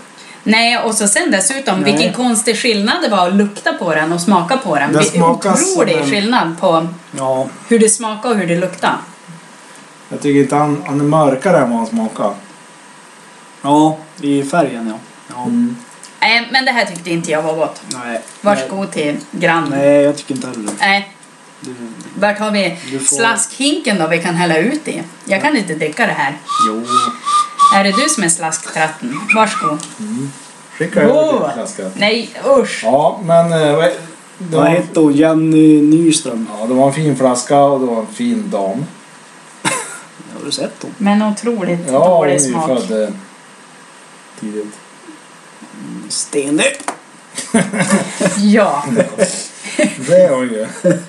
Speaker 2: Nej, och så sen dessutom
Speaker 3: Nej.
Speaker 2: vilken konstig skillnad det var att lukta på den och smaka på den.
Speaker 1: Den
Speaker 2: Det är
Speaker 1: smakar som
Speaker 2: otrolig
Speaker 1: en-
Speaker 2: skillnad på
Speaker 3: Ja.
Speaker 2: hur det smakar och hur det luktar.
Speaker 1: Jag tycker inte han, han är mörkare än vad han smakar.
Speaker 3: Ja, i färgen ja. ja.
Speaker 1: Mm.
Speaker 2: Nej, men det här tyckte inte jag var gott.
Speaker 3: Nej.
Speaker 2: Varsågod till grann.
Speaker 3: Nej, Nej, jag tycker inte heller
Speaker 2: Nej,
Speaker 3: det.
Speaker 2: vart har vi
Speaker 3: Du får-
Speaker 2: slaskhinken då vi kan hälla ut i? Jag kan inte dricka det här.
Speaker 3: Jo.
Speaker 2: Är det du som är slasktratten? Varsågod.
Speaker 1: Skicka över
Speaker 2: Åh!
Speaker 1: till flaskan.
Speaker 2: Nej, usch!
Speaker 1: Ja, men... eh, vad- Det
Speaker 3: Vad
Speaker 1: var,
Speaker 3: hette hon? Jenny Nyström.
Speaker 1: ja, det var en fin flaska och det var en fin dam.
Speaker 3: Har du sett hon?
Speaker 2: Men otroligt
Speaker 1: Ja, hon är ju
Speaker 2: dålig smak.
Speaker 1: född eh, tidigt.
Speaker 3: Mm, Stenig.
Speaker 2: Ja,
Speaker 1: Det är hon ju.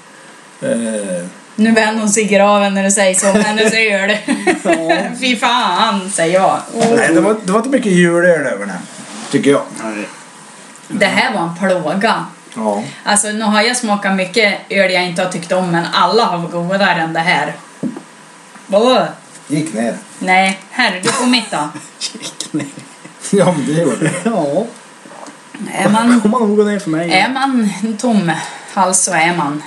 Speaker 1: Eh,
Speaker 2: nu vänder hon sig i graven när du säger så. Hennes öl. Fy fan, säger jag. Åh.
Speaker 1: Nej, det var, det var inte mycket julöl över den här, tycker jag.
Speaker 3: Nej.
Speaker 2: Det här var en plåga.
Speaker 1: Ja.
Speaker 2: Alltså nu har jag smakat mycket öl jag inte har tyckt om men alla har varit godare än det här. Åh!
Speaker 1: Gick ner.
Speaker 2: Nej, herre, du får mitt då.
Speaker 3: Gick ner.
Speaker 1: Ja, men det gjorde det.
Speaker 3: Ja,
Speaker 2: Är man,
Speaker 3: kommer nog gå ner för mig.
Speaker 2: är man tom hals så är man.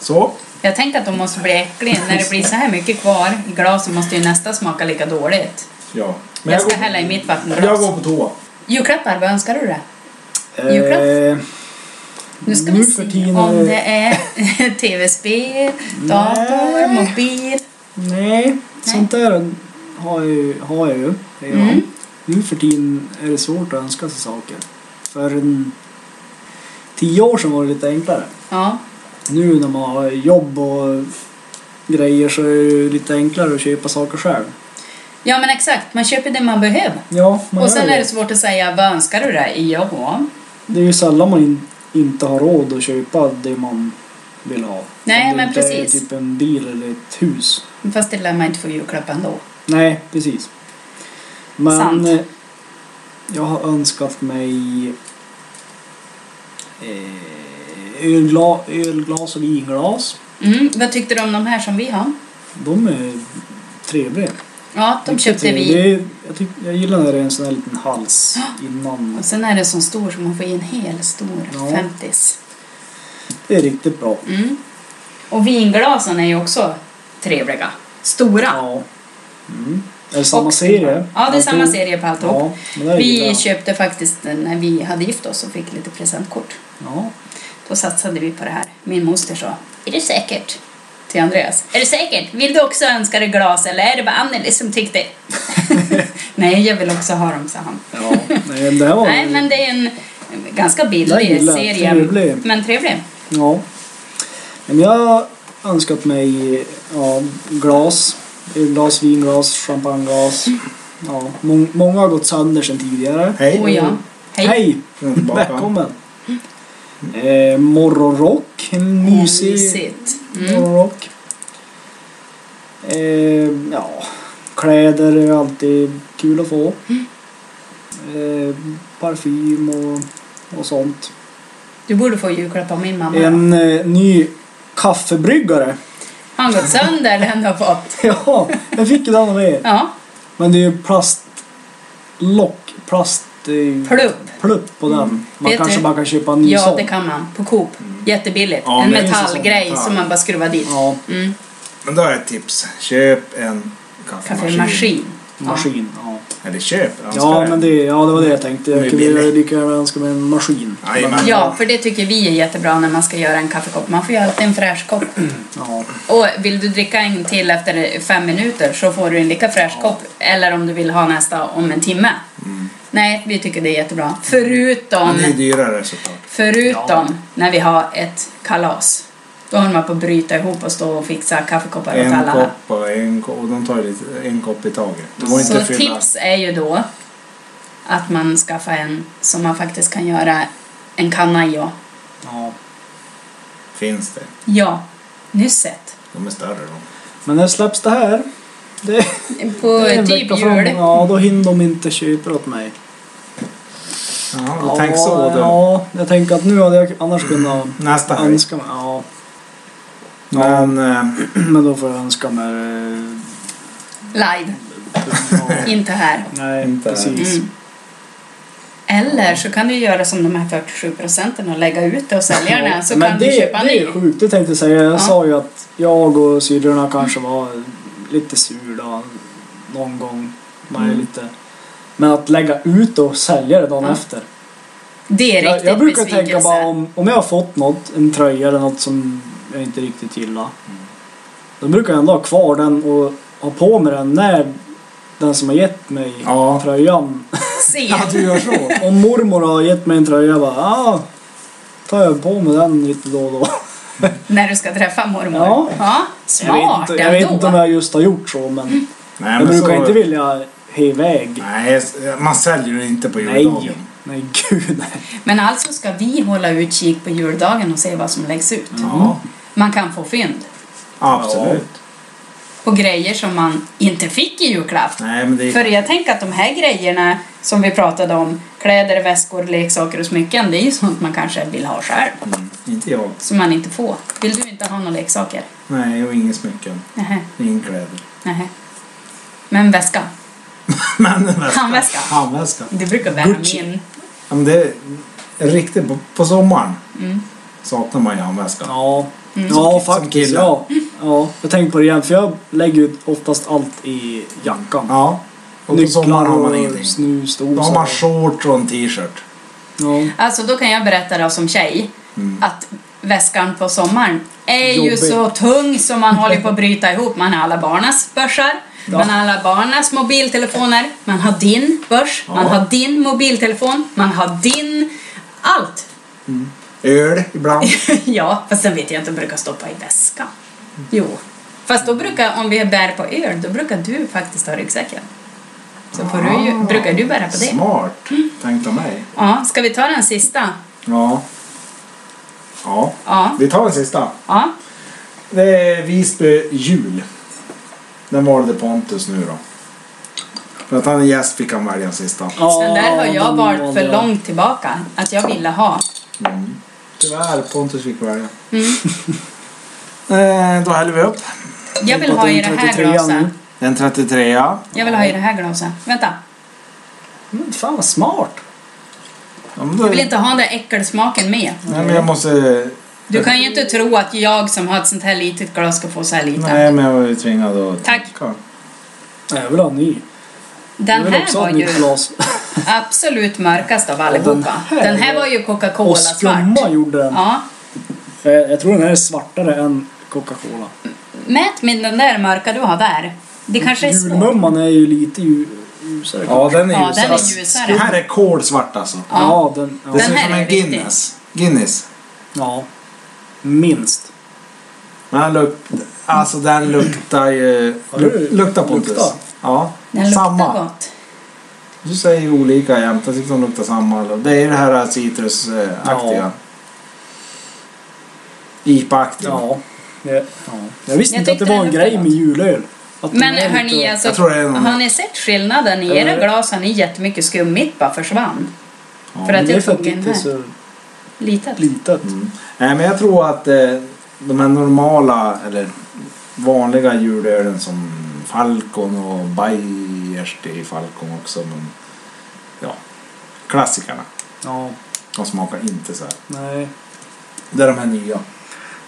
Speaker 1: Så.
Speaker 2: Jag tänkte att de måste bli äckliga. När det blir så här mycket kvar i glaset måste ju nästa smaka lika dåligt.
Speaker 1: Ja.
Speaker 2: Jag ska
Speaker 1: går-
Speaker 2: hälla i mitt
Speaker 1: Jag
Speaker 2: vattenglas.
Speaker 1: går på toa.
Speaker 2: Julklappar, vad önskar du dig?
Speaker 3: Eh,
Speaker 2: Nu ska
Speaker 3: Nu
Speaker 2: vi
Speaker 3: för
Speaker 2: se
Speaker 3: tiden är
Speaker 2: om
Speaker 3: det-
Speaker 2: det är tv-spel, dator,
Speaker 3: Nej.
Speaker 2: mobil.
Speaker 3: nej, sånt där har jag ju. Har jag ju. Ja.
Speaker 2: Mm.
Speaker 3: Nu för tiden är det svårt att önska sig saker. För en tio år sedan var det lite enklare.
Speaker 2: Ja,
Speaker 3: Nu när man har jobb och grejer så är det ju lite enklare att köpa saker själv.
Speaker 2: ja men exakt. Man köper det man behöver.
Speaker 3: Ja, man
Speaker 2: Och
Speaker 3: gör
Speaker 2: sen
Speaker 3: det.
Speaker 2: är det svårt att säga vad önskar du dig? Ja.
Speaker 3: Det är ju sällan man in, inte har råd att köpa det man vill ha.
Speaker 2: Nej,
Speaker 3: Om det
Speaker 2: men
Speaker 3: inte är
Speaker 2: precis.
Speaker 3: typ en bil eller ett hus.
Speaker 2: Fast det lär man inte få julklapp ändå.
Speaker 3: Nej, precis. Men
Speaker 2: Sant.
Speaker 3: eh, jag har önskat mig eh, ölgla, ölglas och vinglas.
Speaker 2: Mm, vad tyckte du om de här som vi har?
Speaker 3: De är trevliga.
Speaker 2: Ja, de
Speaker 3: Riktigt
Speaker 2: köpte
Speaker 3: trevliga.
Speaker 2: vi.
Speaker 3: Det är, jag, tyck, jag gillar när det är en sån här liten hals innan.
Speaker 2: Och sen är det så stor så man får i en hel stor
Speaker 3: Ja.
Speaker 2: femtis.
Speaker 3: Det är riktigt bra.
Speaker 2: Mm. Och vinglasen är ju också trevliga. Stora.
Speaker 3: Ja. Mm. Är det samma
Speaker 2: Och-
Speaker 3: serie?
Speaker 2: Ja, det är samma
Speaker 3: Alltihop?
Speaker 2: serie på alltihop.
Speaker 3: Ja, men det är
Speaker 2: Vi
Speaker 3: gillar jag.
Speaker 2: köpte faktiskt den när vi hade gift oss och fick lite presentkort.
Speaker 3: Ja.
Speaker 2: Då satsade vi på det här. Min moster sa, är du säkert? Till Andreas. Är du säkert? Vill du också önska dig glas eller är det bara Anneli som tyckte? Nej, jag vill också ha dem, sa han.
Speaker 3: Ja, nej, det här var
Speaker 2: Nej, men det är en ganska
Speaker 3: Det
Speaker 2: billig
Speaker 3: gillar jag.
Speaker 2: serie.
Speaker 3: Trevlig.
Speaker 2: Men trevlig.
Speaker 3: Ja. Men jag har önskat mig ja, glas. Glas, vinglas, champagneglas. Ja, mång- många har gått sönder sedan tidigare.
Speaker 1: Hej.
Speaker 2: Och Oh, ja. Hej.
Speaker 3: Hej!
Speaker 1: Jag är tillbaka.
Speaker 3: Välkommen! Eh, morgonrock. En mysig
Speaker 2: Mysigt. Mm.
Speaker 3: morgonrock. Eh, ja, kläder är alltid kul att få. Eh, parfym och, och sånt.
Speaker 2: Du borde få julklapp av min mamma. då.
Speaker 3: En eh, ny kaffebryggare.
Speaker 2: Har han gått sönder eller har fått?
Speaker 3: Ja, jag fick den av er.
Speaker 2: Ja.
Speaker 3: Men det är ju plastlock, plast... eh,
Speaker 2: Plupp. Mm.
Speaker 3: Plupp på den. Man
Speaker 2: Vet
Speaker 3: kanske
Speaker 2: du?
Speaker 3: bara kan köpa
Speaker 1: Mm,
Speaker 3: en ny
Speaker 2: Ja,
Speaker 3: sån.
Speaker 2: det kan man. På Coop. Jättebilligt.
Speaker 1: Ja,
Speaker 2: en
Speaker 1: men det
Speaker 3: finns en
Speaker 2: metallgrej
Speaker 1: sån.
Speaker 2: som man bara skruvar dit.
Speaker 3: Ja,
Speaker 2: Mm.
Speaker 1: Men då har jag ett tips. Köp en kaffemaskin.
Speaker 2: Kaffemaskin. Ja.
Speaker 3: maskin. Ja,
Speaker 1: Eller köp. önska
Speaker 3: ja
Speaker 1: en.
Speaker 3: men det, ja, det var det jag tänkte.
Speaker 1: Det är
Speaker 3: Jag kunde
Speaker 1: billigt.
Speaker 3: lika gärna önska mig en maskin.
Speaker 1: Jajamän.
Speaker 2: ja, för det tycker vi är jättebra när man ska göra en kaffekopp. Man får ju alltid en fräsch kopp.
Speaker 3: Ja,
Speaker 2: Och vill du dricka en till efter fem minuter så får du en lika fräsch kopp. Eller om du vill ha nästa om en timme.
Speaker 1: Mm.
Speaker 2: Nej, vi tycker det är jättebra.
Speaker 1: Men
Speaker 2: Förutom,
Speaker 1: det är dyrare såklart.
Speaker 2: förutom när vi har ett kalas. Då håller man på att bryta ihop och stå och fixa kaffekoppar åt
Speaker 1: En
Speaker 2: alla.
Speaker 1: kopp och en kopp. Och de tar ju lite, en kopp i taget. Det går inte
Speaker 2: Så
Speaker 1: att fylla.
Speaker 2: tips är ju då att man skaffar en som man faktiskt kan göra en kanna i. och-
Speaker 3: ja.
Speaker 1: Finns det.
Speaker 2: Ja, nyss sett.
Speaker 1: De är större de.
Speaker 3: Men när släpps det här? Det,
Speaker 2: På
Speaker 3: det är en
Speaker 2: typ
Speaker 3: vecka fram.
Speaker 2: jul.
Speaker 3: Ja, då hinner de inte köpa åt mig.
Speaker 1: Ja,
Speaker 3: ja,
Speaker 1: då tänk så du. Mm.
Speaker 3: Ja, jag tänker att nu hade jag annars kunnat
Speaker 1: Nästa helg.
Speaker 3: önska mig. Ja,
Speaker 1: Men eh,
Speaker 3: men då får jag önska mig
Speaker 2: Live,
Speaker 3: Ja,
Speaker 2: inte här.
Speaker 3: Nej,
Speaker 1: Inte.
Speaker 3: precis.
Speaker 2: Mm. Eller så kan du göra som de här 47 procenten och lägga ut det och sälja den här så
Speaker 3: Men
Speaker 2: kan
Speaker 3: det,
Speaker 2: du köpa en
Speaker 3: det
Speaker 2: ny.
Speaker 3: är sjukt, det tänkte jag säga. Jag
Speaker 2: Ja.
Speaker 3: sa ju att jag och syrrorna kanske var lite surda någon gång. Man är
Speaker 1: Mm.
Speaker 3: lite... Men att lägga ut och sälja det dagen
Speaker 2: Ja.
Speaker 3: efter.
Speaker 2: Det är
Speaker 3: Jag,
Speaker 2: riktigt
Speaker 3: jag brukar tänka
Speaker 2: besvikelse.
Speaker 3: bara om, om jag har fått något, en tröja eller något som jag inte riktigt gillar.
Speaker 1: Mm.
Speaker 3: Då brukar jag ändå ha kvar den och ha på mig den när den som har gett mig
Speaker 1: Ja.
Speaker 3: tröjan
Speaker 2: Se.
Speaker 1: att du gör så.
Speaker 3: Om mormor har gett mig en tröja bara, ah, tar jag på mig den lite då och då.
Speaker 2: När du ska träffa mormor.
Speaker 3: Ja. Jag vet
Speaker 2: smart
Speaker 3: inte, jag vet inte om
Speaker 2: ändå.
Speaker 3: jag just har gjort så
Speaker 2: Mm.
Speaker 3: men Alltså-
Speaker 1: Nej,
Speaker 3: jag
Speaker 1: men
Speaker 3: brukar
Speaker 1: så-
Speaker 3: inte vilja he iväg.
Speaker 1: Nej, man säljer det inte på
Speaker 3: Nej,
Speaker 1: juldagen.
Speaker 3: nej gud nej.
Speaker 2: Men alltså ska vi hålla utkik på juldagen och se vad som läggs ut.
Speaker 1: Ja,
Speaker 3: Mm.
Speaker 2: Man kan få fynd.
Speaker 1: absolut.
Speaker 2: på grejer som man inte fick i julklapp.
Speaker 1: Nej, men det
Speaker 2: För jag tänker att de här grejerna som vi pratade om, kläder, väskor, leksaker och smycken, det är ju sånt man kanske vill ha själv,
Speaker 1: Mm, inte jag.
Speaker 2: som man inte får. Vill du inte ha några leksaker?
Speaker 1: Nej, och inga smycken.
Speaker 2: Nähä.
Speaker 1: Inga kläder.
Speaker 2: Nej. Men väska.
Speaker 1: Men en väska.
Speaker 2: Handväska.
Speaker 1: Handväska.
Speaker 2: Du brukar bära
Speaker 1: Gucci.
Speaker 2: min.
Speaker 1: Ja, men det är riktigt, på, på sommaren
Speaker 2: Mm.
Speaker 1: saknar man ju handväska.
Speaker 3: Ja,
Speaker 1: Som-
Speaker 3: ja
Speaker 1: som
Speaker 3: faktiskt.
Speaker 1: kille.
Speaker 3: Ja. ja, jag tänkte på det igen. För jag lägger ju oftast allt i jackan.
Speaker 1: Ja. Och på sommaren
Speaker 3: Nycklar
Speaker 1: har man
Speaker 3: och
Speaker 1: ingenting.
Speaker 3: snus,
Speaker 1: Då har
Speaker 3: dosor.
Speaker 1: man shorts och en t-shirt.
Speaker 3: Ja.
Speaker 2: Alltså då kan jag berätta då som tjej
Speaker 1: Mm.
Speaker 2: att väskan på sommaren är ju
Speaker 3: Jobbig.
Speaker 2: så tung som man håller på att bryta ihop. Man har alla barnas börsar, man har alla barnas mobiltelefoner, man har din börs, man
Speaker 1: Ja.
Speaker 2: har din mobiltelefon, man har din... Allt!
Speaker 1: Öl ibland.
Speaker 2: ja, fast sen vet jag inte om jag brukar stoppa i väskan. Jo. Fast då brukar, om vi bär på öl, då brukar du faktiskt ha ryggsäcken. Så får du ju,
Speaker 1: Ah.
Speaker 2: brukar du bära på det.
Speaker 1: Smart. Tänkt av mig.
Speaker 2: Ja, ska vi ta den sista?
Speaker 1: Ja. Ja.
Speaker 2: Ja.
Speaker 1: Vi tar den sista.
Speaker 2: Ja.
Speaker 1: Det är Visby jul. Den valde Pontus nu då. För att han är gäst fick han välja den sista.
Speaker 3: Ja,
Speaker 2: Den där har jag
Speaker 3: den
Speaker 2: varit
Speaker 3: valde
Speaker 2: för
Speaker 3: jag.
Speaker 2: långt tillbaka. Att jag ville ha.
Speaker 1: Mm. Tyvärr, Pontus fick välja.
Speaker 2: Mm.
Speaker 1: Eh, då häller vi upp.
Speaker 2: Jag vill ha i det här
Speaker 3: 33 nu.
Speaker 2: glaset.
Speaker 1: En 33
Speaker 2: Jag vill ha i det här glaset. Vänta.
Speaker 3: Men fan vad smart.
Speaker 1: Ja, men då-
Speaker 2: Jag vill inte ha den där äckelsmaken med.
Speaker 1: Nej, men jag måste...
Speaker 2: Du kan ju inte tro att jag som har ett sånt här litet glas ska få så här lite.
Speaker 1: Nej, men jag var ju tvingad att...
Speaker 2: Tack.
Speaker 1: tänka.
Speaker 3: Nej, Jag vill ha en ny. jag
Speaker 2: Den
Speaker 3: vill
Speaker 2: här
Speaker 3: också ha
Speaker 2: var
Speaker 3: ett nytt
Speaker 2: ju
Speaker 3: glas.
Speaker 2: absolut mörkast av allihopa.
Speaker 3: den här
Speaker 2: Den här var ju
Speaker 3: Och
Speaker 2: Coca-Cola-svart.
Speaker 3: skumma gjorde den.
Speaker 2: Ja.
Speaker 3: Eh, Jag tror den här är svartare än Coca-Cola.
Speaker 2: Mät med den där mörka du har där. Det kanske är svårt.
Speaker 3: Julmumman är ju lite ju- ljusare.
Speaker 1: Ja, den är
Speaker 2: Ja,
Speaker 1: ljusare.
Speaker 2: den är ljusare.
Speaker 1: Det här är kolsvart alltså.
Speaker 2: Ja.
Speaker 3: Ja, den, ja.
Speaker 1: Det ser
Speaker 2: Den
Speaker 1: ut
Speaker 2: här
Speaker 1: som
Speaker 2: är
Speaker 1: en
Speaker 2: riktig.
Speaker 1: Guinness. Guinness.
Speaker 3: ja. Minst.
Speaker 1: Men den luktar... Alltså den luktar ju...
Speaker 3: Har du-
Speaker 1: Luktar Pontus.
Speaker 3: Luktar?
Speaker 1: Ja.
Speaker 2: Den luktar
Speaker 1: samma.
Speaker 2: gott.
Speaker 1: Du säger ju olika jämt. Jag tyckte de luktar samma. Det är ju det här citrusaktiga.
Speaker 3: Ja.
Speaker 1: IPA-aktiga.
Speaker 3: Ja. Det, ja. Jag visste
Speaker 2: Jag
Speaker 3: inte att det
Speaker 2: tyckte
Speaker 3: var en
Speaker 2: den
Speaker 3: grej
Speaker 2: luktade
Speaker 3: med julöl. Att den
Speaker 2: Men
Speaker 3: är
Speaker 2: hörni, alltså,
Speaker 1: jag tror det är någon-
Speaker 2: har ni sett skillnaden? I era
Speaker 3: Eller-
Speaker 2: glas har ni jättemycket skum, mitt bara försvann.
Speaker 1: Ja,
Speaker 2: för
Speaker 3: Men
Speaker 2: att
Speaker 3: det är
Speaker 2: jag
Speaker 3: för att
Speaker 2: tog
Speaker 3: det
Speaker 2: en
Speaker 3: inte är
Speaker 2: här.
Speaker 3: så
Speaker 2: Litet.
Speaker 3: litet.
Speaker 1: Mm. Nej, men jag tror att eh, de här normala eller vanliga julölen som Falcon och Bayers det är ju Falcon också. Men ja, klassikerna.
Speaker 3: Ja,
Speaker 1: De smakar inte så här.
Speaker 3: nej.
Speaker 1: Det är de här nya.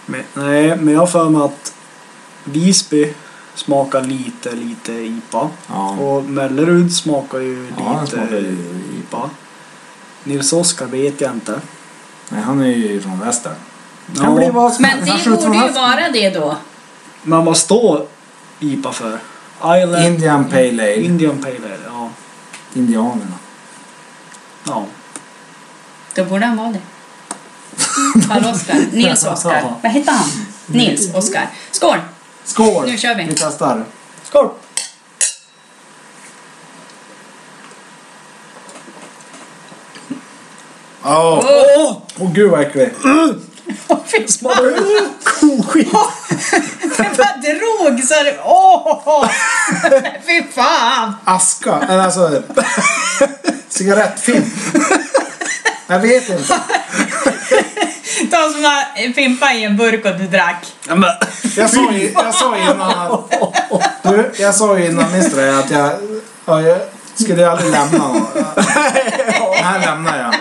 Speaker 3: Men, nej, men jag har för mig att Visby smakar lite, lite IPA.
Speaker 1: Ja.
Speaker 3: Och Mellerud smakar ju
Speaker 1: Ja, den
Speaker 3: lite
Speaker 1: smakar ju
Speaker 3: IPA. Nils Oskar vet jag inte.
Speaker 1: Nej, han är ju från väster.
Speaker 3: Ja.
Speaker 1: Han blir vad som
Speaker 2: Men
Speaker 1: helst. Han
Speaker 2: det
Speaker 1: skjuter från
Speaker 2: borde
Speaker 1: höften.
Speaker 2: ju vara det då.
Speaker 3: Men vad står IPA för? Island...
Speaker 1: Indian Pale Ale.
Speaker 3: Indian Pale Ale, ja.
Speaker 1: Indianerna.
Speaker 3: ja.
Speaker 2: Då borde han vara det. Karl-Oskar. Nils Oskar. Vad heter han? Nils
Speaker 1: Mm.
Speaker 2: Oskar. Skål!
Speaker 1: Skål!
Speaker 2: Nu kör vi.
Speaker 1: Vi testar.
Speaker 3: Skål!
Speaker 1: Åh,
Speaker 2: Åh,
Speaker 3: Åh!
Speaker 1: Åh, gud vad äcklig.
Speaker 2: fy fan.
Speaker 3: Smakar det koskit?
Speaker 2: Det bara drog så det... Åh! Fy fan!
Speaker 1: Aska. Eller alltså... Cigarettfimp. Jag vet inte.
Speaker 2: Ta såna fimpa i en burk och du drack.
Speaker 3: Ja, men...
Speaker 1: Jag sa ju, jag sa ju innan att... Du, jag sa ju innan minns du det, att jag... Ja, jag skulle ju aldrig lämna någon. Den här lämnar jag.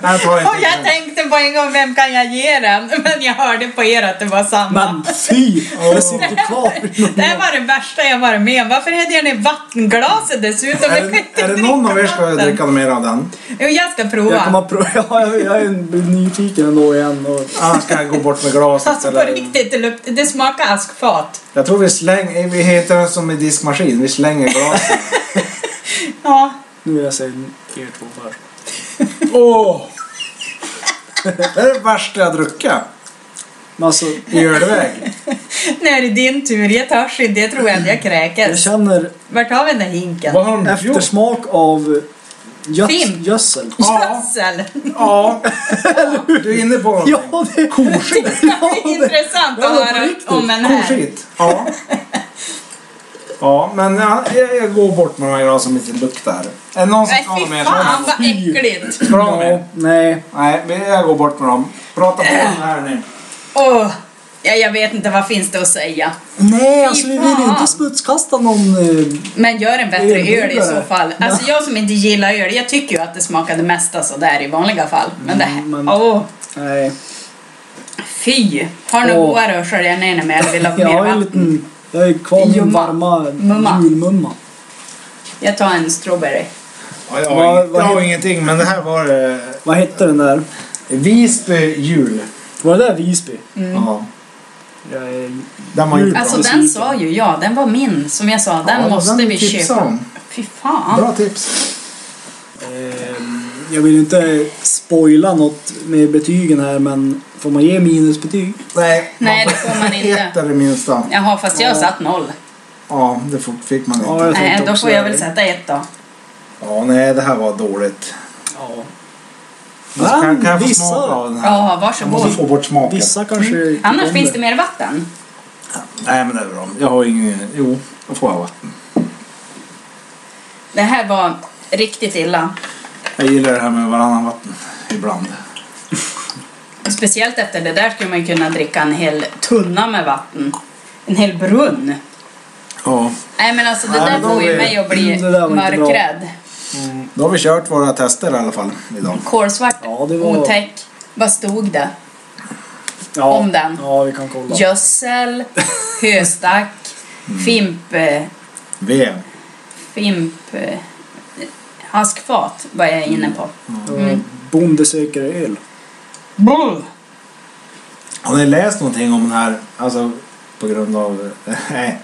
Speaker 1: Den här tar jag
Speaker 2: Och jag
Speaker 1: inte.
Speaker 2: tänkte på en gång, vem kan jag ge den? Men jag hörde på er att det var samma.
Speaker 3: Men fy! Det sitter kvar.
Speaker 2: Det här var det värsta jag varit med om. Varför hällde jag ner vattenglaset dessutom?
Speaker 1: Är
Speaker 2: Jag kan
Speaker 1: det,
Speaker 2: inte
Speaker 1: är det
Speaker 2: dricka
Speaker 1: någon av er ska
Speaker 2: vatten.
Speaker 1: dricka mer av den?
Speaker 2: Jo, jag ska
Speaker 3: Jag kommer
Speaker 2: prova.
Speaker 3: att prova. Ja, jag, jag är nyfiken ändå igen. Och...
Speaker 1: Annars kan jag gå bort med glaset.
Speaker 2: Alltså på
Speaker 1: Eller,
Speaker 2: riktigt, det, luktar- det smakar askfat.
Speaker 1: jag tror vi slänger... Vi heter den som i diskmaskin. Vi slänger glaset.
Speaker 2: Ja.
Speaker 3: Nu vill jag säga er två först.
Speaker 1: Åh! Det är det värsta jag druckit.
Speaker 3: Men alltså,
Speaker 1: I ölväg.
Speaker 2: Nu är det din tur. Jag törs inte. Jag tror att jag
Speaker 3: jag
Speaker 2: kräkes.
Speaker 3: känner
Speaker 2: Vart har vi den där hinken?
Speaker 1: Vad har de gjort?
Speaker 3: eftersmak av göts-
Speaker 2: Fimp.
Speaker 3: gödsel.
Speaker 2: Gödsel!
Speaker 1: Ja. Du är inne på någonting.
Speaker 3: Ja, det är
Speaker 1: Koskit.
Speaker 2: Det är intressant
Speaker 3: det
Speaker 2: att
Speaker 3: var på
Speaker 2: höra
Speaker 3: riktigt.
Speaker 2: om en här.
Speaker 1: Koskit. Ja. Ja, men jag, jag, jag går bort med de här glasen som inte luktar. Är det någon som
Speaker 2: Nej,
Speaker 1: ska ha
Speaker 2: fy
Speaker 1: mer?
Speaker 2: fan vad äckligt!
Speaker 1: Ska du ha
Speaker 3: Ja,
Speaker 1: mer?
Speaker 3: nej.
Speaker 1: Nej, men jag går bort med dem. Prata på den här nu.
Speaker 2: Åh, Ja, jag vet inte, vad finns det att säga?
Speaker 3: Nej,
Speaker 2: Fy
Speaker 3: alltså vi vill
Speaker 2: fan.
Speaker 3: inte smutskasta någon. eh,
Speaker 2: Men gör en bättre
Speaker 3: Ölbryggare.
Speaker 2: öl i så fall. Alltså jag som inte gillar öl, jag tycker ju att det smakade mesta sådär i vanliga fall. Men det här,
Speaker 3: Mm, men-
Speaker 2: åh,
Speaker 3: Nej.
Speaker 2: fy! Har ni
Speaker 3: Åh.
Speaker 2: goa rör så är jag nöjd med eller vill ha
Speaker 3: Jag
Speaker 2: mer
Speaker 3: har en
Speaker 2: vatten?
Speaker 3: liten... Jag är kvar med min
Speaker 2: Jumma.
Speaker 3: varma
Speaker 2: Mumma.
Speaker 3: julmumma.
Speaker 2: Jag tar en strawberry.
Speaker 1: Ja, jag,
Speaker 3: Vad-
Speaker 1: har, ing-
Speaker 3: vad
Speaker 1: jag har
Speaker 3: heter-
Speaker 1: ingenting, men det här var eh,
Speaker 3: Vad hette den där?
Speaker 1: Visby jul.
Speaker 3: Var det där Visby?
Speaker 1: Ja,
Speaker 3: Jag är...
Speaker 1: där man gjorde
Speaker 2: Mm. Alltså
Speaker 1: bra.
Speaker 2: den sa ju jag, den var min. Som jag sa, den
Speaker 1: Ja,
Speaker 2: måste
Speaker 1: den
Speaker 2: vi
Speaker 1: tipsar
Speaker 2: köpa.
Speaker 1: om.
Speaker 2: Fy fan.
Speaker 1: Bra tips.
Speaker 3: Ehm, Jag vill inte spoila något med betygen här men får man ge minusbetyg?
Speaker 1: Nej,
Speaker 2: Nej,
Speaker 1: man
Speaker 2: det får man inte.
Speaker 1: Ett eller minsta.
Speaker 2: Jaha, fast jag har satt noll.
Speaker 1: Ja, det får- fick man
Speaker 3: Ja, jag
Speaker 1: inte.
Speaker 2: Nej,
Speaker 3: tänkte
Speaker 2: då
Speaker 3: också
Speaker 2: får jag
Speaker 3: det.
Speaker 2: väl sätta ett då.
Speaker 1: Ja, nej, det här var dåligt.
Speaker 3: Ja.
Speaker 1: Alltså, kan, kan jag få smaka
Speaker 3: vissa,
Speaker 1: av den här?
Speaker 2: Ja,
Speaker 1: Jag måste
Speaker 2: varsågod.
Speaker 1: få bort smaken.
Speaker 3: vissa kanske... tycker
Speaker 2: Mm. Annars
Speaker 3: om
Speaker 2: finns det mer vatten.
Speaker 1: Nej, men det är bra. Jag har ingen... Jo, då får jag vatten.
Speaker 2: Det här var riktigt illa.
Speaker 1: Jag gillar det här med varannan vatten ibland.
Speaker 2: Speciellt efter det där skulle man ju kunna dricka en hel tunna med vatten. En hel brunn.
Speaker 1: Ja.
Speaker 2: Nej men alltså det
Speaker 1: Nej,
Speaker 2: där
Speaker 1: men då
Speaker 2: får ju
Speaker 1: blir-
Speaker 2: mig att bli
Speaker 3: Det där var inte bra.
Speaker 2: mörkrädd.
Speaker 1: Då har vi kört våra tester i alla fall idag.
Speaker 2: Kolsvart,
Speaker 3: Ja, det var-
Speaker 2: otäck. Vad stod det?
Speaker 3: Ja.
Speaker 2: om den.
Speaker 3: Ja, Mm. vi kan kolla.
Speaker 2: Gödsel, höstack, fimp... eh,
Speaker 1: V.
Speaker 2: Fimp... eh, Askfat var jag inne på.
Speaker 3: Mm. Bonde söker öl.
Speaker 2: Bull!
Speaker 1: Har ni läst någonting om den här? Alltså, på grund av... Nej.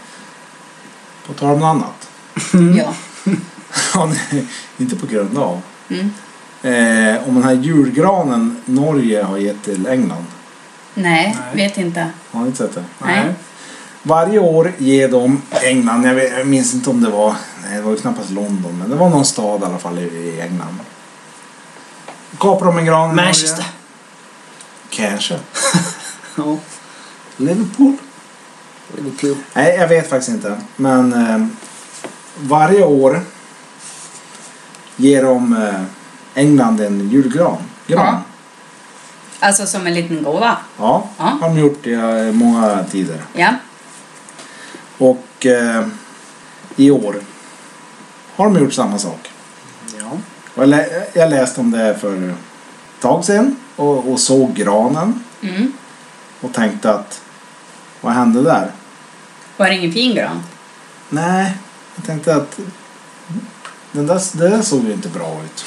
Speaker 1: På tal om något annat.
Speaker 3: Mm.
Speaker 2: Ja.
Speaker 1: Ja, nej, inte på grund av.
Speaker 2: Mm.
Speaker 1: Eh, om den här julgranen Norge har gett till England.
Speaker 2: Nej,
Speaker 3: Nej.
Speaker 2: vet inte.
Speaker 1: Har ni inte sett det?
Speaker 2: Nej.
Speaker 1: Varje år ger de England, jag vet- jag minns inte om det var, nej det var ju knappast London, men det var någon stad i alla fall i- i England. Kapar de en gran i Norge?
Speaker 3: Manchester.
Speaker 1: Kanske.
Speaker 3: Ja.
Speaker 1: Liverpool?
Speaker 3: Det blir kul.
Speaker 1: Nej, jag vet faktiskt inte. Men eh, varje år ger de eh, England en julgran. Gran.
Speaker 2: Ja. Alltså som en liten gåva.
Speaker 1: Ja,
Speaker 2: Ja.
Speaker 1: har de gjort det i många tider.
Speaker 2: Ja.
Speaker 1: Och eh, i år har de gjort samma sak.
Speaker 3: Ja.
Speaker 1: Och Jag, lä- jag läste om det för ett tag sedan och, och såg granen
Speaker 2: Mm.
Speaker 1: och tänkte att vad hände där?
Speaker 2: Var det ingen fin gran?
Speaker 1: Nej, jag tänkte att den där, det där såg ju inte bra ut.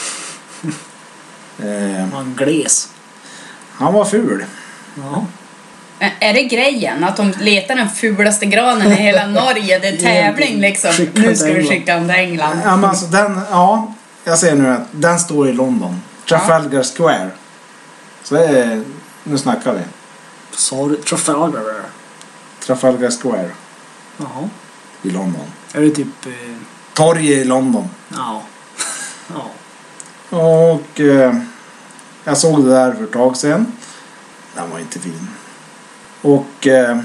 Speaker 1: eh,
Speaker 3: Man gles.
Speaker 1: han var ful.
Speaker 3: Ja.
Speaker 2: Ä- Är det grejen att de letar den fulaste granen i hela Norge? Det är tävling liksom.
Speaker 3: Skicka
Speaker 2: Nu ska
Speaker 3: till
Speaker 2: vi
Speaker 3: England.
Speaker 2: skicka den till England.
Speaker 1: Ja, men alltså den, ja, jag ser nu att den står i London. Trafalgar Square. Så det är, nu snackar vi.
Speaker 3: Sa du Trafalgar?
Speaker 1: Trafalgar Square
Speaker 3: Jaha.
Speaker 1: i London.
Speaker 3: Är det typ... eh,
Speaker 1: Torget i London.
Speaker 3: Ja. Ja.
Speaker 1: Och eh, jag såg det där för ett tag sedan. Den var inte fin. Och eh,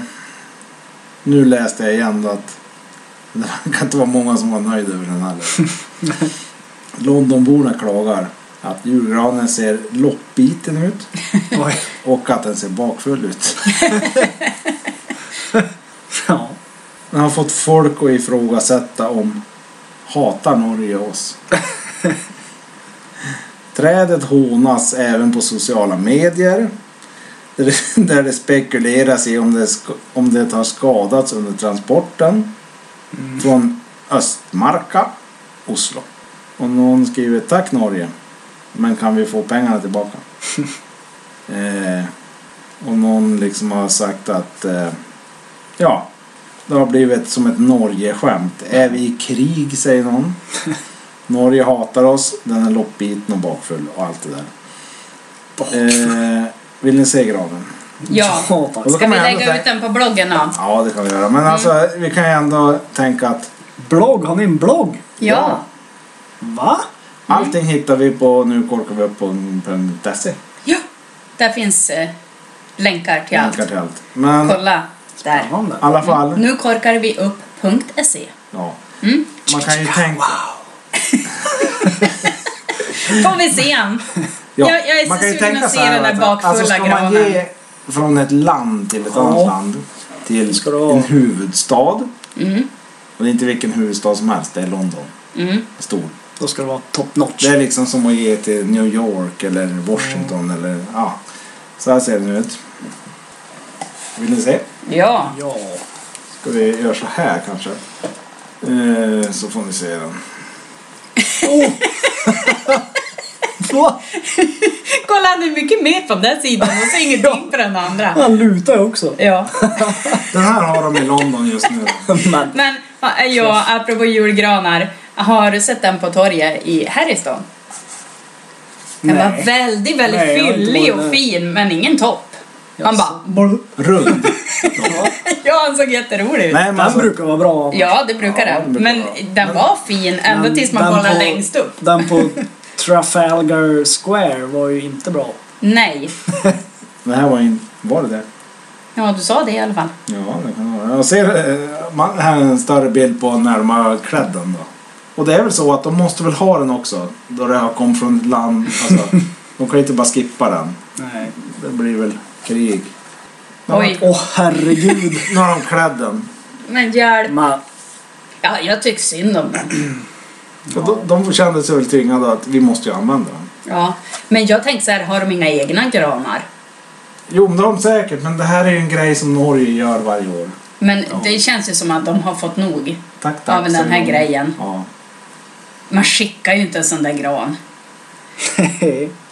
Speaker 1: nu läste jag igen att det verkar inte vara många som var nöjda över den heller. Londonborna klagar att julgranen ser loppbiten ut
Speaker 3: Oj.
Speaker 1: och att den ser bakfull ut.
Speaker 3: Ja.
Speaker 1: Den har fått folk att ifrågasätta om hatar Norge oss. Trädet hånas även på sociala medier. Där det- Där det spekuleras i om det, sk- om det har skadats under transporten. Från Östmarka, Oslo. Och någon skriver tack Norge. Men kan vi få pengarna tillbaka? eh, och någon liksom har sagt att eh, ja, det har blivit som ett Norge-skämt. Är vi i krig, säger någon. Norge hatar oss, den är loppbiten och bakfull och allt det där. Eh, vill ni se graven?
Speaker 2: Ja.
Speaker 3: Ja, tack.
Speaker 1: Och då
Speaker 2: Ska
Speaker 1: kan
Speaker 2: vi
Speaker 1: man ändå
Speaker 2: lägga
Speaker 1: tänka-
Speaker 2: ut den på bloggen då?
Speaker 1: Ja, det kan vi göra. Men alltså, vi kan ju ändå tänka att
Speaker 3: Blogg? Har ni en blogg?
Speaker 2: Ja.
Speaker 3: Va?
Speaker 1: allting hittar vi på nu korkar vi upp på .se.
Speaker 2: Ja. Där finns eh, länkar till allt.
Speaker 1: Länkar till allt. Men i
Speaker 2: Kolla där.
Speaker 3: Spännande.
Speaker 1: alla fall,
Speaker 2: Nu korkar vi upp.se.
Speaker 1: ja.
Speaker 2: Mm.
Speaker 1: Man kan ju tänka...
Speaker 2: Får vi se han? Jag- jag är så
Speaker 1: man kan ju
Speaker 2: sugen
Speaker 1: tänka
Speaker 2: att se
Speaker 1: så här
Speaker 2: den där
Speaker 1: att- alltså,
Speaker 2: bakfulla
Speaker 1: ska man
Speaker 2: granen.
Speaker 1: Ge från ett land till ett
Speaker 3: Ja.
Speaker 1: annat land. Till
Speaker 3: Ska det vara.
Speaker 1: en huvudstad.
Speaker 2: Mm.
Speaker 1: Och det är inte vilken huvudstad som helst, det är London.
Speaker 2: Mm.
Speaker 1: Stor.
Speaker 3: Då ska det vara top notch.
Speaker 1: Det är liksom som att ge till New York eller Washington
Speaker 2: Mm.
Speaker 1: eller ja. Så här ser den ut. Vill ni se?
Speaker 2: Ja.
Speaker 3: Ja.
Speaker 1: Ska vi göra så här kanske? Eh, så får ni se den.
Speaker 3: Oh. Va?
Speaker 2: Kolla han är mycket mer på den där sidan och så ingenting på den andra.
Speaker 3: Han lutar ju också.
Speaker 2: Ja.
Speaker 1: Den här har de i London just nu.
Speaker 3: Men
Speaker 2: Men ja, jag, apropå julgranar, har du sett den på torget i Harriston? Den
Speaker 3: Nej.
Speaker 2: var väldigt, väldigt
Speaker 3: Nej, jag har inte
Speaker 2: fyllig
Speaker 3: varit
Speaker 2: och
Speaker 3: där.
Speaker 2: fin, men ingen topp. Man
Speaker 3: Jaså.
Speaker 2: bara,
Speaker 1: Rund.
Speaker 2: ja han såg jätterolig ut.
Speaker 1: Nej, men
Speaker 3: den
Speaker 1: alltså,
Speaker 3: brukar vara bra.
Speaker 2: Ja, det
Speaker 1: Ja,
Speaker 2: brukar den.
Speaker 1: den brukar
Speaker 2: Men
Speaker 1: vara.
Speaker 2: den var fin ända
Speaker 3: Men
Speaker 2: tills man
Speaker 3: den
Speaker 2: kollar
Speaker 3: på-
Speaker 2: längst upp.
Speaker 3: Den på Trafalgar Square var ju inte bra.
Speaker 2: Nej.
Speaker 1: det här var in... Var det det?
Speaker 2: Ja, du sa det i alla fall.
Speaker 1: Ja, det kan det vara. Jag ser eh, man, här är en större bild på när de har klädd den då. Och det är väl så att de måste väl ha den också. Då det har kommit från ett land. Alltså, de kan ju inte bara skippa den.
Speaker 3: Nej.
Speaker 1: Det blir väl krig. Nu har de-
Speaker 2: Oj.
Speaker 3: Åh herregud.
Speaker 1: Nu har de klädd den.
Speaker 2: Men hjälp.
Speaker 3: Man,
Speaker 2: Ja, jag tycker synd om den.
Speaker 1: Och de, de kände sig väl tvingade att vi måste ju använda den.
Speaker 2: Ja. Men jag tänkte så här, har de inga egna granar?
Speaker 1: Jo, men det har de säkert. Men det här är ju en grej som Norge gör varje år.
Speaker 2: Men det känns ju som att de har fått nog.
Speaker 1: Tack, tack.
Speaker 2: Ja, men
Speaker 1: säger
Speaker 2: den här
Speaker 1: de.
Speaker 2: grejen.
Speaker 1: Ja.
Speaker 2: Man skickar ju inte en sån där gran.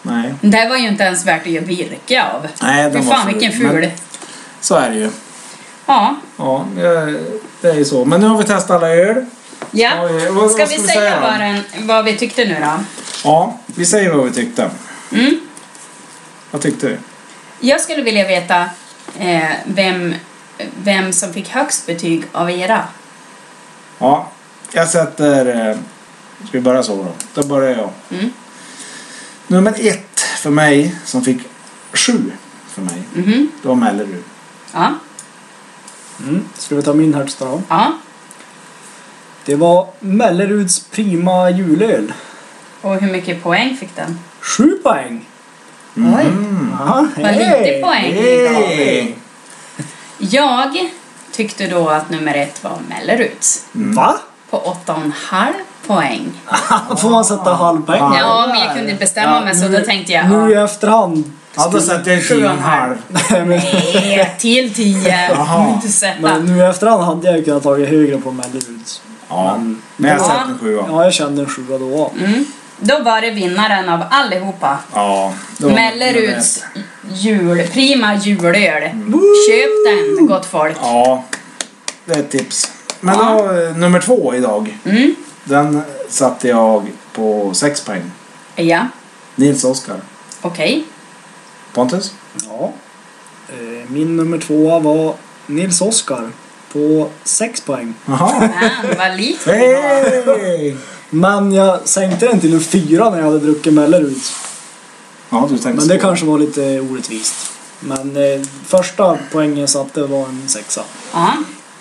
Speaker 1: Nej.
Speaker 2: Det här var ju inte ens värt att göra virke av.
Speaker 1: Nej, den
Speaker 2: Fy
Speaker 1: var
Speaker 2: fan
Speaker 1: ful,
Speaker 2: vilken ful.
Speaker 1: men- Så är det ju.
Speaker 2: Ja.
Speaker 1: Ja, eh, det är ju så. Men nu har vi testat alla öl.
Speaker 2: ja.
Speaker 1: Oj, vad- vad
Speaker 2: Ska vi
Speaker 1: ska vi
Speaker 2: säga
Speaker 1: säga då?
Speaker 2: vad, den, vad vi tyckte nu då?
Speaker 1: Ja, vi säger vad vi tyckte.
Speaker 2: Mm.
Speaker 1: Vad tyckte vi?
Speaker 2: Jag skulle vilja veta eh, vem, vem som fick högst betyg av era.
Speaker 1: Ja, jag sätter... eh, Ska vi börja så då? Då börjar jag.
Speaker 2: Mm.
Speaker 1: Nummer ett för mig, som fick sju för mig,
Speaker 2: Mhm.
Speaker 1: det var Mellerud.
Speaker 2: Ja.
Speaker 3: Mm. Ska vi ta min högsta då?
Speaker 2: ja.
Speaker 3: Det var Melleruds prima julöl.
Speaker 2: Och hur mycket poäng fick den?
Speaker 3: Sju poäng.
Speaker 2: Oj.
Speaker 1: Mm.
Speaker 3: Aha,
Speaker 2: Vad lite poäng.
Speaker 1: Yay!
Speaker 2: Jag tyckte då att nummer ett var Melleruds
Speaker 3: Mm. Va?
Speaker 2: på 8,5 poäng.
Speaker 3: Får man sätta halv poäng?
Speaker 1: Ja.
Speaker 2: Ja, men jag kunde inte bestämma
Speaker 3: Ja,
Speaker 2: mig så
Speaker 3: nu-
Speaker 2: då tänkte jag "Ah,
Speaker 3: Nu i
Speaker 2: ja,
Speaker 3: efterhand.
Speaker 1: Ja, då sätter jag
Speaker 2: Sju
Speaker 1: tio
Speaker 2: och
Speaker 1: och en
Speaker 2: en halv.
Speaker 1: halv.
Speaker 3: Nej, men,
Speaker 2: nej, till 10.
Speaker 1: Jaha.
Speaker 2: Inte sätta.
Speaker 3: men nu i efterhand hade jag ju kunnat tagit högre på Melleruds.
Speaker 1: Ja, men jag
Speaker 2: Ja.
Speaker 1: sätter en sjua.
Speaker 3: Ja, jag kände en sjua då.
Speaker 2: Mm. Då var det vinnaren av allihopa.
Speaker 1: Ja. det var-
Speaker 2: Melleruds jul, prima julöl. Köp den, gott folk.
Speaker 1: Ja, det är ett tips. Men
Speaker 2: Ja.
Speaker 1: då, eh, nummer två idag,
Speaker 2: Mm.
Speaker 1: den satte jag på sex poäng.
Speaker 2: Ja,
Speaker 1: Nils Oskar.
Speaker 2: okej.
Speaker 1: Pontus?
Speaker 3: Ja. Eh, Min nummer tvåa var Nils Oskar på sex poäng.
Speaker 1: Jaha.
Speaker 2: Fan, vad likt vi var.
Speaker 1: Hej!
Speaker 3: Men jag sänkte den till en fyra när jag hade druckit Melleruds.
Speaker 1: Ja, du tänkte
Speaker 3: Men det
Speaker 1: så.
Speaker 3: kanske var lite orättvist. Men eh, första poängen jag satte var en sexa.
Speaker 2: Ja.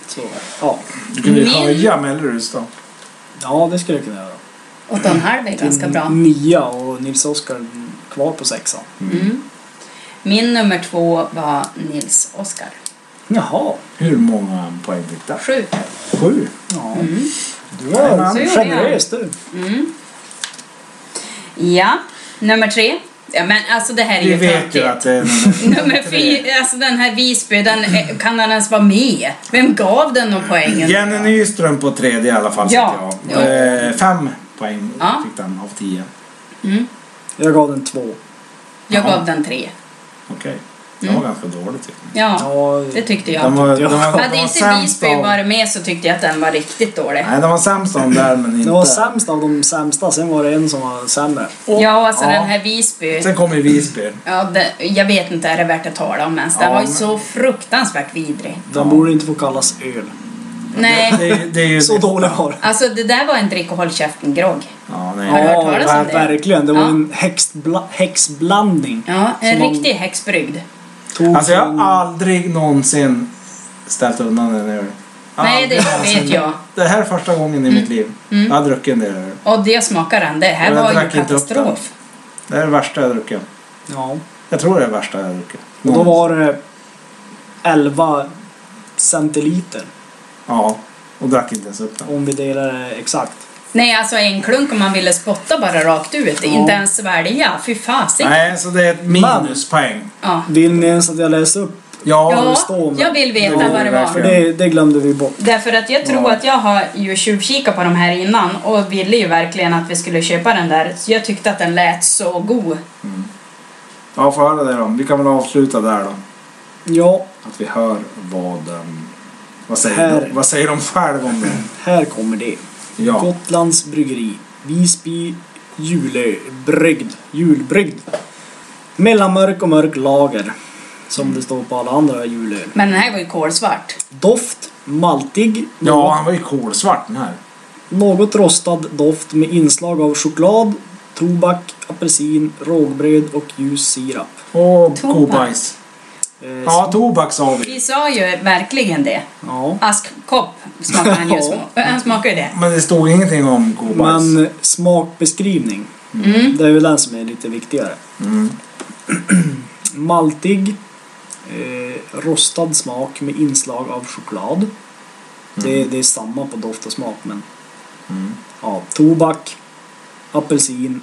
Speaker 3: Så, ja.
Speaker 1: Du kunde ju
Speaker 2: Min-
Speaker 1: höja Melleruds då.
Speaker 3: ja, det skulle jag kunna göra.
Speaker 2: 8,5 är ganska
Speaker 3: En
Speaker 2: bra.
Speaker 3: Nia och Nils Oskar kvar på sexan.
Speaker 2: Mm. Min nummer två var Nils Oskar.
Speaker 3: Jaha.
Speaker 1: Hur många poäng fick du?
Speaker 2: Sju.
Speaker 1: Sju.
Speaker 3: Ja. Du
Speaker 1: Jajamän.
Speaker 3: var
Speaker 2: Mm. Så gjorde jag.
Speaker 3: generös du.
Speaker 2: Mm. Ja, nummer tre. Ja, men alltså det här är
Speaker 1: Vi
Speaker 2: ju
Speaker 1: vet ju
Speaker 2: töntigt.
Speaker 1: att det är nummer...
Speaker 2: Nummer fyra, alltså den här Visby, den, eh, kan den ens vara med? Vem gav den någon poängen?
Speaker 1: Jenny Nyström på tredje i alla fall.
Speaker 2: Ja.
Speaker 1: satte Jag. Eh, Fem poäng
Speaker 2: Ja.
Speaker 1: fick den av tio.
Speaker 2: Mm.
Speaker 3: Jag gav den två.
Speaker 2: Jag
Speaker 1: Jaha.
Speaker 2: gav den tre.
Speaker 1: Okej. Den var ganska dålig tycker jag.
Speaker 2: Mm. Ja,
Speaker 3: Ja,
Speaker 2: det tyckte
Speaker 1: Den
Speaker 2: jag.
Speaker 1: var,
Speaker 3: tyckte
Speaker 1: den var,
Speaker 3: jag.
Speaker 1: den
Speaker 2: Hade
Speaker 1: var
Speaker 2: inte
Speaker 1: sämst
Speaker 2: Visby
Speaker 1: av...
Speaker 2: varit med så tyckte jag att den var riktigt dålig.
Speaker 1: Nej, den var sämst av de där men inte...
Speaker 3: det var sämst av de sämsta, sen var det en som var sämre.
Speaker 2: Ja, alltså
Speaker 1: Ja.
Speaker 2: den här Visby.
Speaker 1: Sen kom ju Visby.
Speaker 2: Ja, det, jag vet inte, är det värt att tala om ens? Den
Speaker 1: Ja,
Speaker 2: var ju
Speaker 1: men-
Speaker 2: så fruktansvärt vidrig.
Speaker 3: Den borde inte få kallas öl.
Speaker 2: Nej.
Speaker 1: Det, är- det är ju
Speaker 3: Så dålig var den.
Speaker 2: Alltså det där var en drick och håll käften-grogg.
Speaker 1: Ja, nej.
Speaker 2: Har du hört
Speaker 3: Ja,
Speaker 2: talas om det?
Speaker 3: verkligen. Det var
Speaker 2: Ja.
Speaker 3: en häxbla- häxblandning.
Speaker 2: Ja, en
Speaker 3: Som man-
Speaker 2: riktig häxbrygd.
Speaker 3: Tog
Speaker 1: Alltså jag
Speaker 3: från-
Speaker 1: har aldrig någonsin ställt undan en öl.
Speaker 2: Nej, det Mm.
Speaker 1: Aldrig.
Speaker 2: vet jag.
Speaker 1: Det här är första gången i mitt liv. Jag har druckit en del öl.
Speaker 2: Och det smakar den. Det här
Speaker 1: Och jag
Speaker 2: var ju
Speaker 1: drack inte upp den.
Speaker 2: katastrof.
Speaker 1: Det här är det värsta jag har druckit.
Speaker 3: Ja.
Speaker 1: Jag tror det är det värsta jag har druckit.
Speaker 3: Och då var det 11 centiliter
Speaker 1: Ja, och drack inte ens upp den.
Speaker 3: om vi delar det exakt.
Speaker 2: Nej, alltså en klunk om man ville spotta bara rakt ut. Inte ens svälja. Fy fasing.
Speaker 1: Nej, så det är ett minuspoäng.
Speaker 2: Ja.
Speaker 3: Vill ni ens att jag läser upp?
Speaker 1: Ja,
Speaker 2: Ja,
Speaker 3: står med-
Speaker 2: jag vill veta
Speaker 1: Ja,
Speaker 2: vad det
Speaker 1: verkligen.
Speaker 2: var.
Speaker 3: För det, det glömde vi bort.
Speaker 2: Därför att jag tror
Speaker 1: Ja.
Speaker 2: att jag har ju tjuvkikat på de här innan och ville ju verkligen att vi skulle köpa den där. Så jag tyckte att den lät så god.
Speaker 1: ja får höra det då. Vi kan väl avsluta där då.
Speaker 3: Ja,
Speaker 1: Att vi hör vad... ehm, vad, säger
Speaker 3: Här.
Speaker 1: de, vad säger de själv om det?
Speaker 3: här kommer det.
Speaker 1: Ja.
Speaker 3: Gotlands bryggeri. Visby julbrygd. Julbrygd. Mellanmörk och mörk lager. Som det står på alla andra julöl.
Speaker 2: Men den här var ju kolsvart.
Speaker 3: Doft, maltig,
Speaker 1: ja, han
Speaker 3: något,
Speaker 1: var ju kolsvart den här.
Speaker 3: något rostad doft med inslag av choklad, tobak, apelsin, rågbröd och ljus sirap.
Speaker 1: Och
Speaker 2: Tobak.
Speaker 1: kobajs.
Speaker 3: Eh,
Speaker 1: Ja, tobak sa vi.
Speaker 2: Vi sa ju verkligen det.
Speaker 3: ja.
Speaker 2: Askkopp smakar han ju. som- Han smakar ju det.
Speaker 1: Men det stod ingenting om kobajs.
Speaker 3: Men smakbeskrivning,
Speaker 2: Mm.
Speaker 3: det är väl den som är lite viktigare.
Speaker 1: Mm.
Speaker 3: Maltig, eh, rostad smak med inslag av choklad.
Speaker 1: Mm.
Speaker 3: Det, det är samma på doft och smak men... Ja, tobak, apelsin,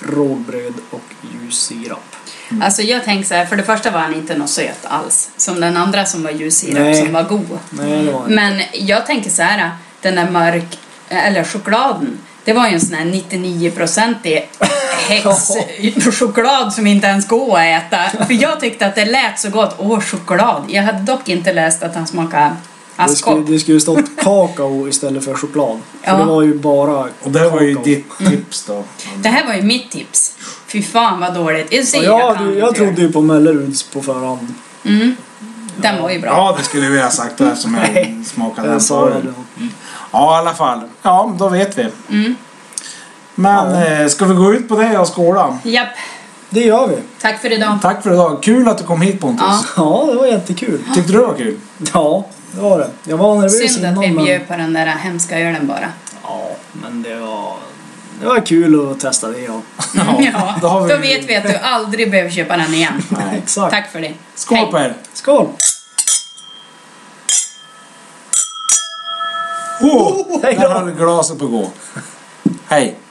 Speaker 3: rågbröd och ljus sirap.
Speaker 2: Alltså jag tänker så här, för det första var han inte något söt alls. Som den andra som var ljussirap
Speaker 3: Nej.
Speaker 2: som var god.
Speaker 3: Nej, det var inte.
Speaker 2: Men jag tänker så här, den där mörk, eller chokladen, det var ju en sån här 99-procentig häxchoklad som inte ens går att äta. För jag tyckte att det lät så gott. Åh, choklad. Jag hade dock inte läst att han smakade
Speaker 3: Det skulle,
Speaker 2: askkopp.
Speaker 3: det skulle stått kakao istället för choklad. För
Speaker 2: Ja.
Speaker 3: det var ju bara
Speaker 1: och det var ju
Speaker 3: kakao.
Speaker 1: ditt tips då.
Speaker 2: Det här var ju mitt tips. Fy fan vad dåligt. Jag,
Speaker 3: Ja,
Speaker 2: ser att han
Speaker 3: jag, jag
Speaker 2: inte gör
Speaker 3: trodde ju på Melleruds på förhand.
Speaker 2: det. Mm. Den var ju bra.
Speaker 1: Ja, det skulle vi ha sagt då eftersom
Speaker 3: Nej.
Speaker 1: jag smakade den
Speaker 3: Jag sa det.
Speaker 1: förut. Ja, i alla fall. Ja, men då vet vi.
Speaker 2: Mm.
Speaker 1: Men
Speaker 3: Ja.
Speaker 1: eh, ska vi gå ut på det och skåla?
Speaker 2: Japp,
Speaker 3: Det gör vi.
Speaker 2: tack för idag.
Speaker 1: Tack för idag. Kul att du kom hit Pontus.
Speaker 2: Ja.
Speaker 3: Ja, det var jättekul.
Speaker 1: Tyckte du det var kul?
Speaker 3: Ja, det var det. Jag var nervös
Speaker 2: Synd
Speaker 3: innan
Speaker 2: att vi
Speaker 3: men...
Speaker 2: bjöd på den där hemska ölen bara.
Speaker 3: Ja, men det var... Det var kul att testa det ja.
Speaker 2: Ja,
Speaker 1: då har vi-
Speaker 2: då vet vi att du aldrig behöver köpa den igen.
Speaker 1: Nej.
Speaker 3: Exakt.
Speaker 2: Tack för det.
Speaker 1: Skål på er!
Speaker 3: Skål!
Speaker 1: Oh,
Speaker 3: Hej
Speaker 1: där
Speaker 3: då.
Speaker 1: Oh, höll glaset på att gå. Hej!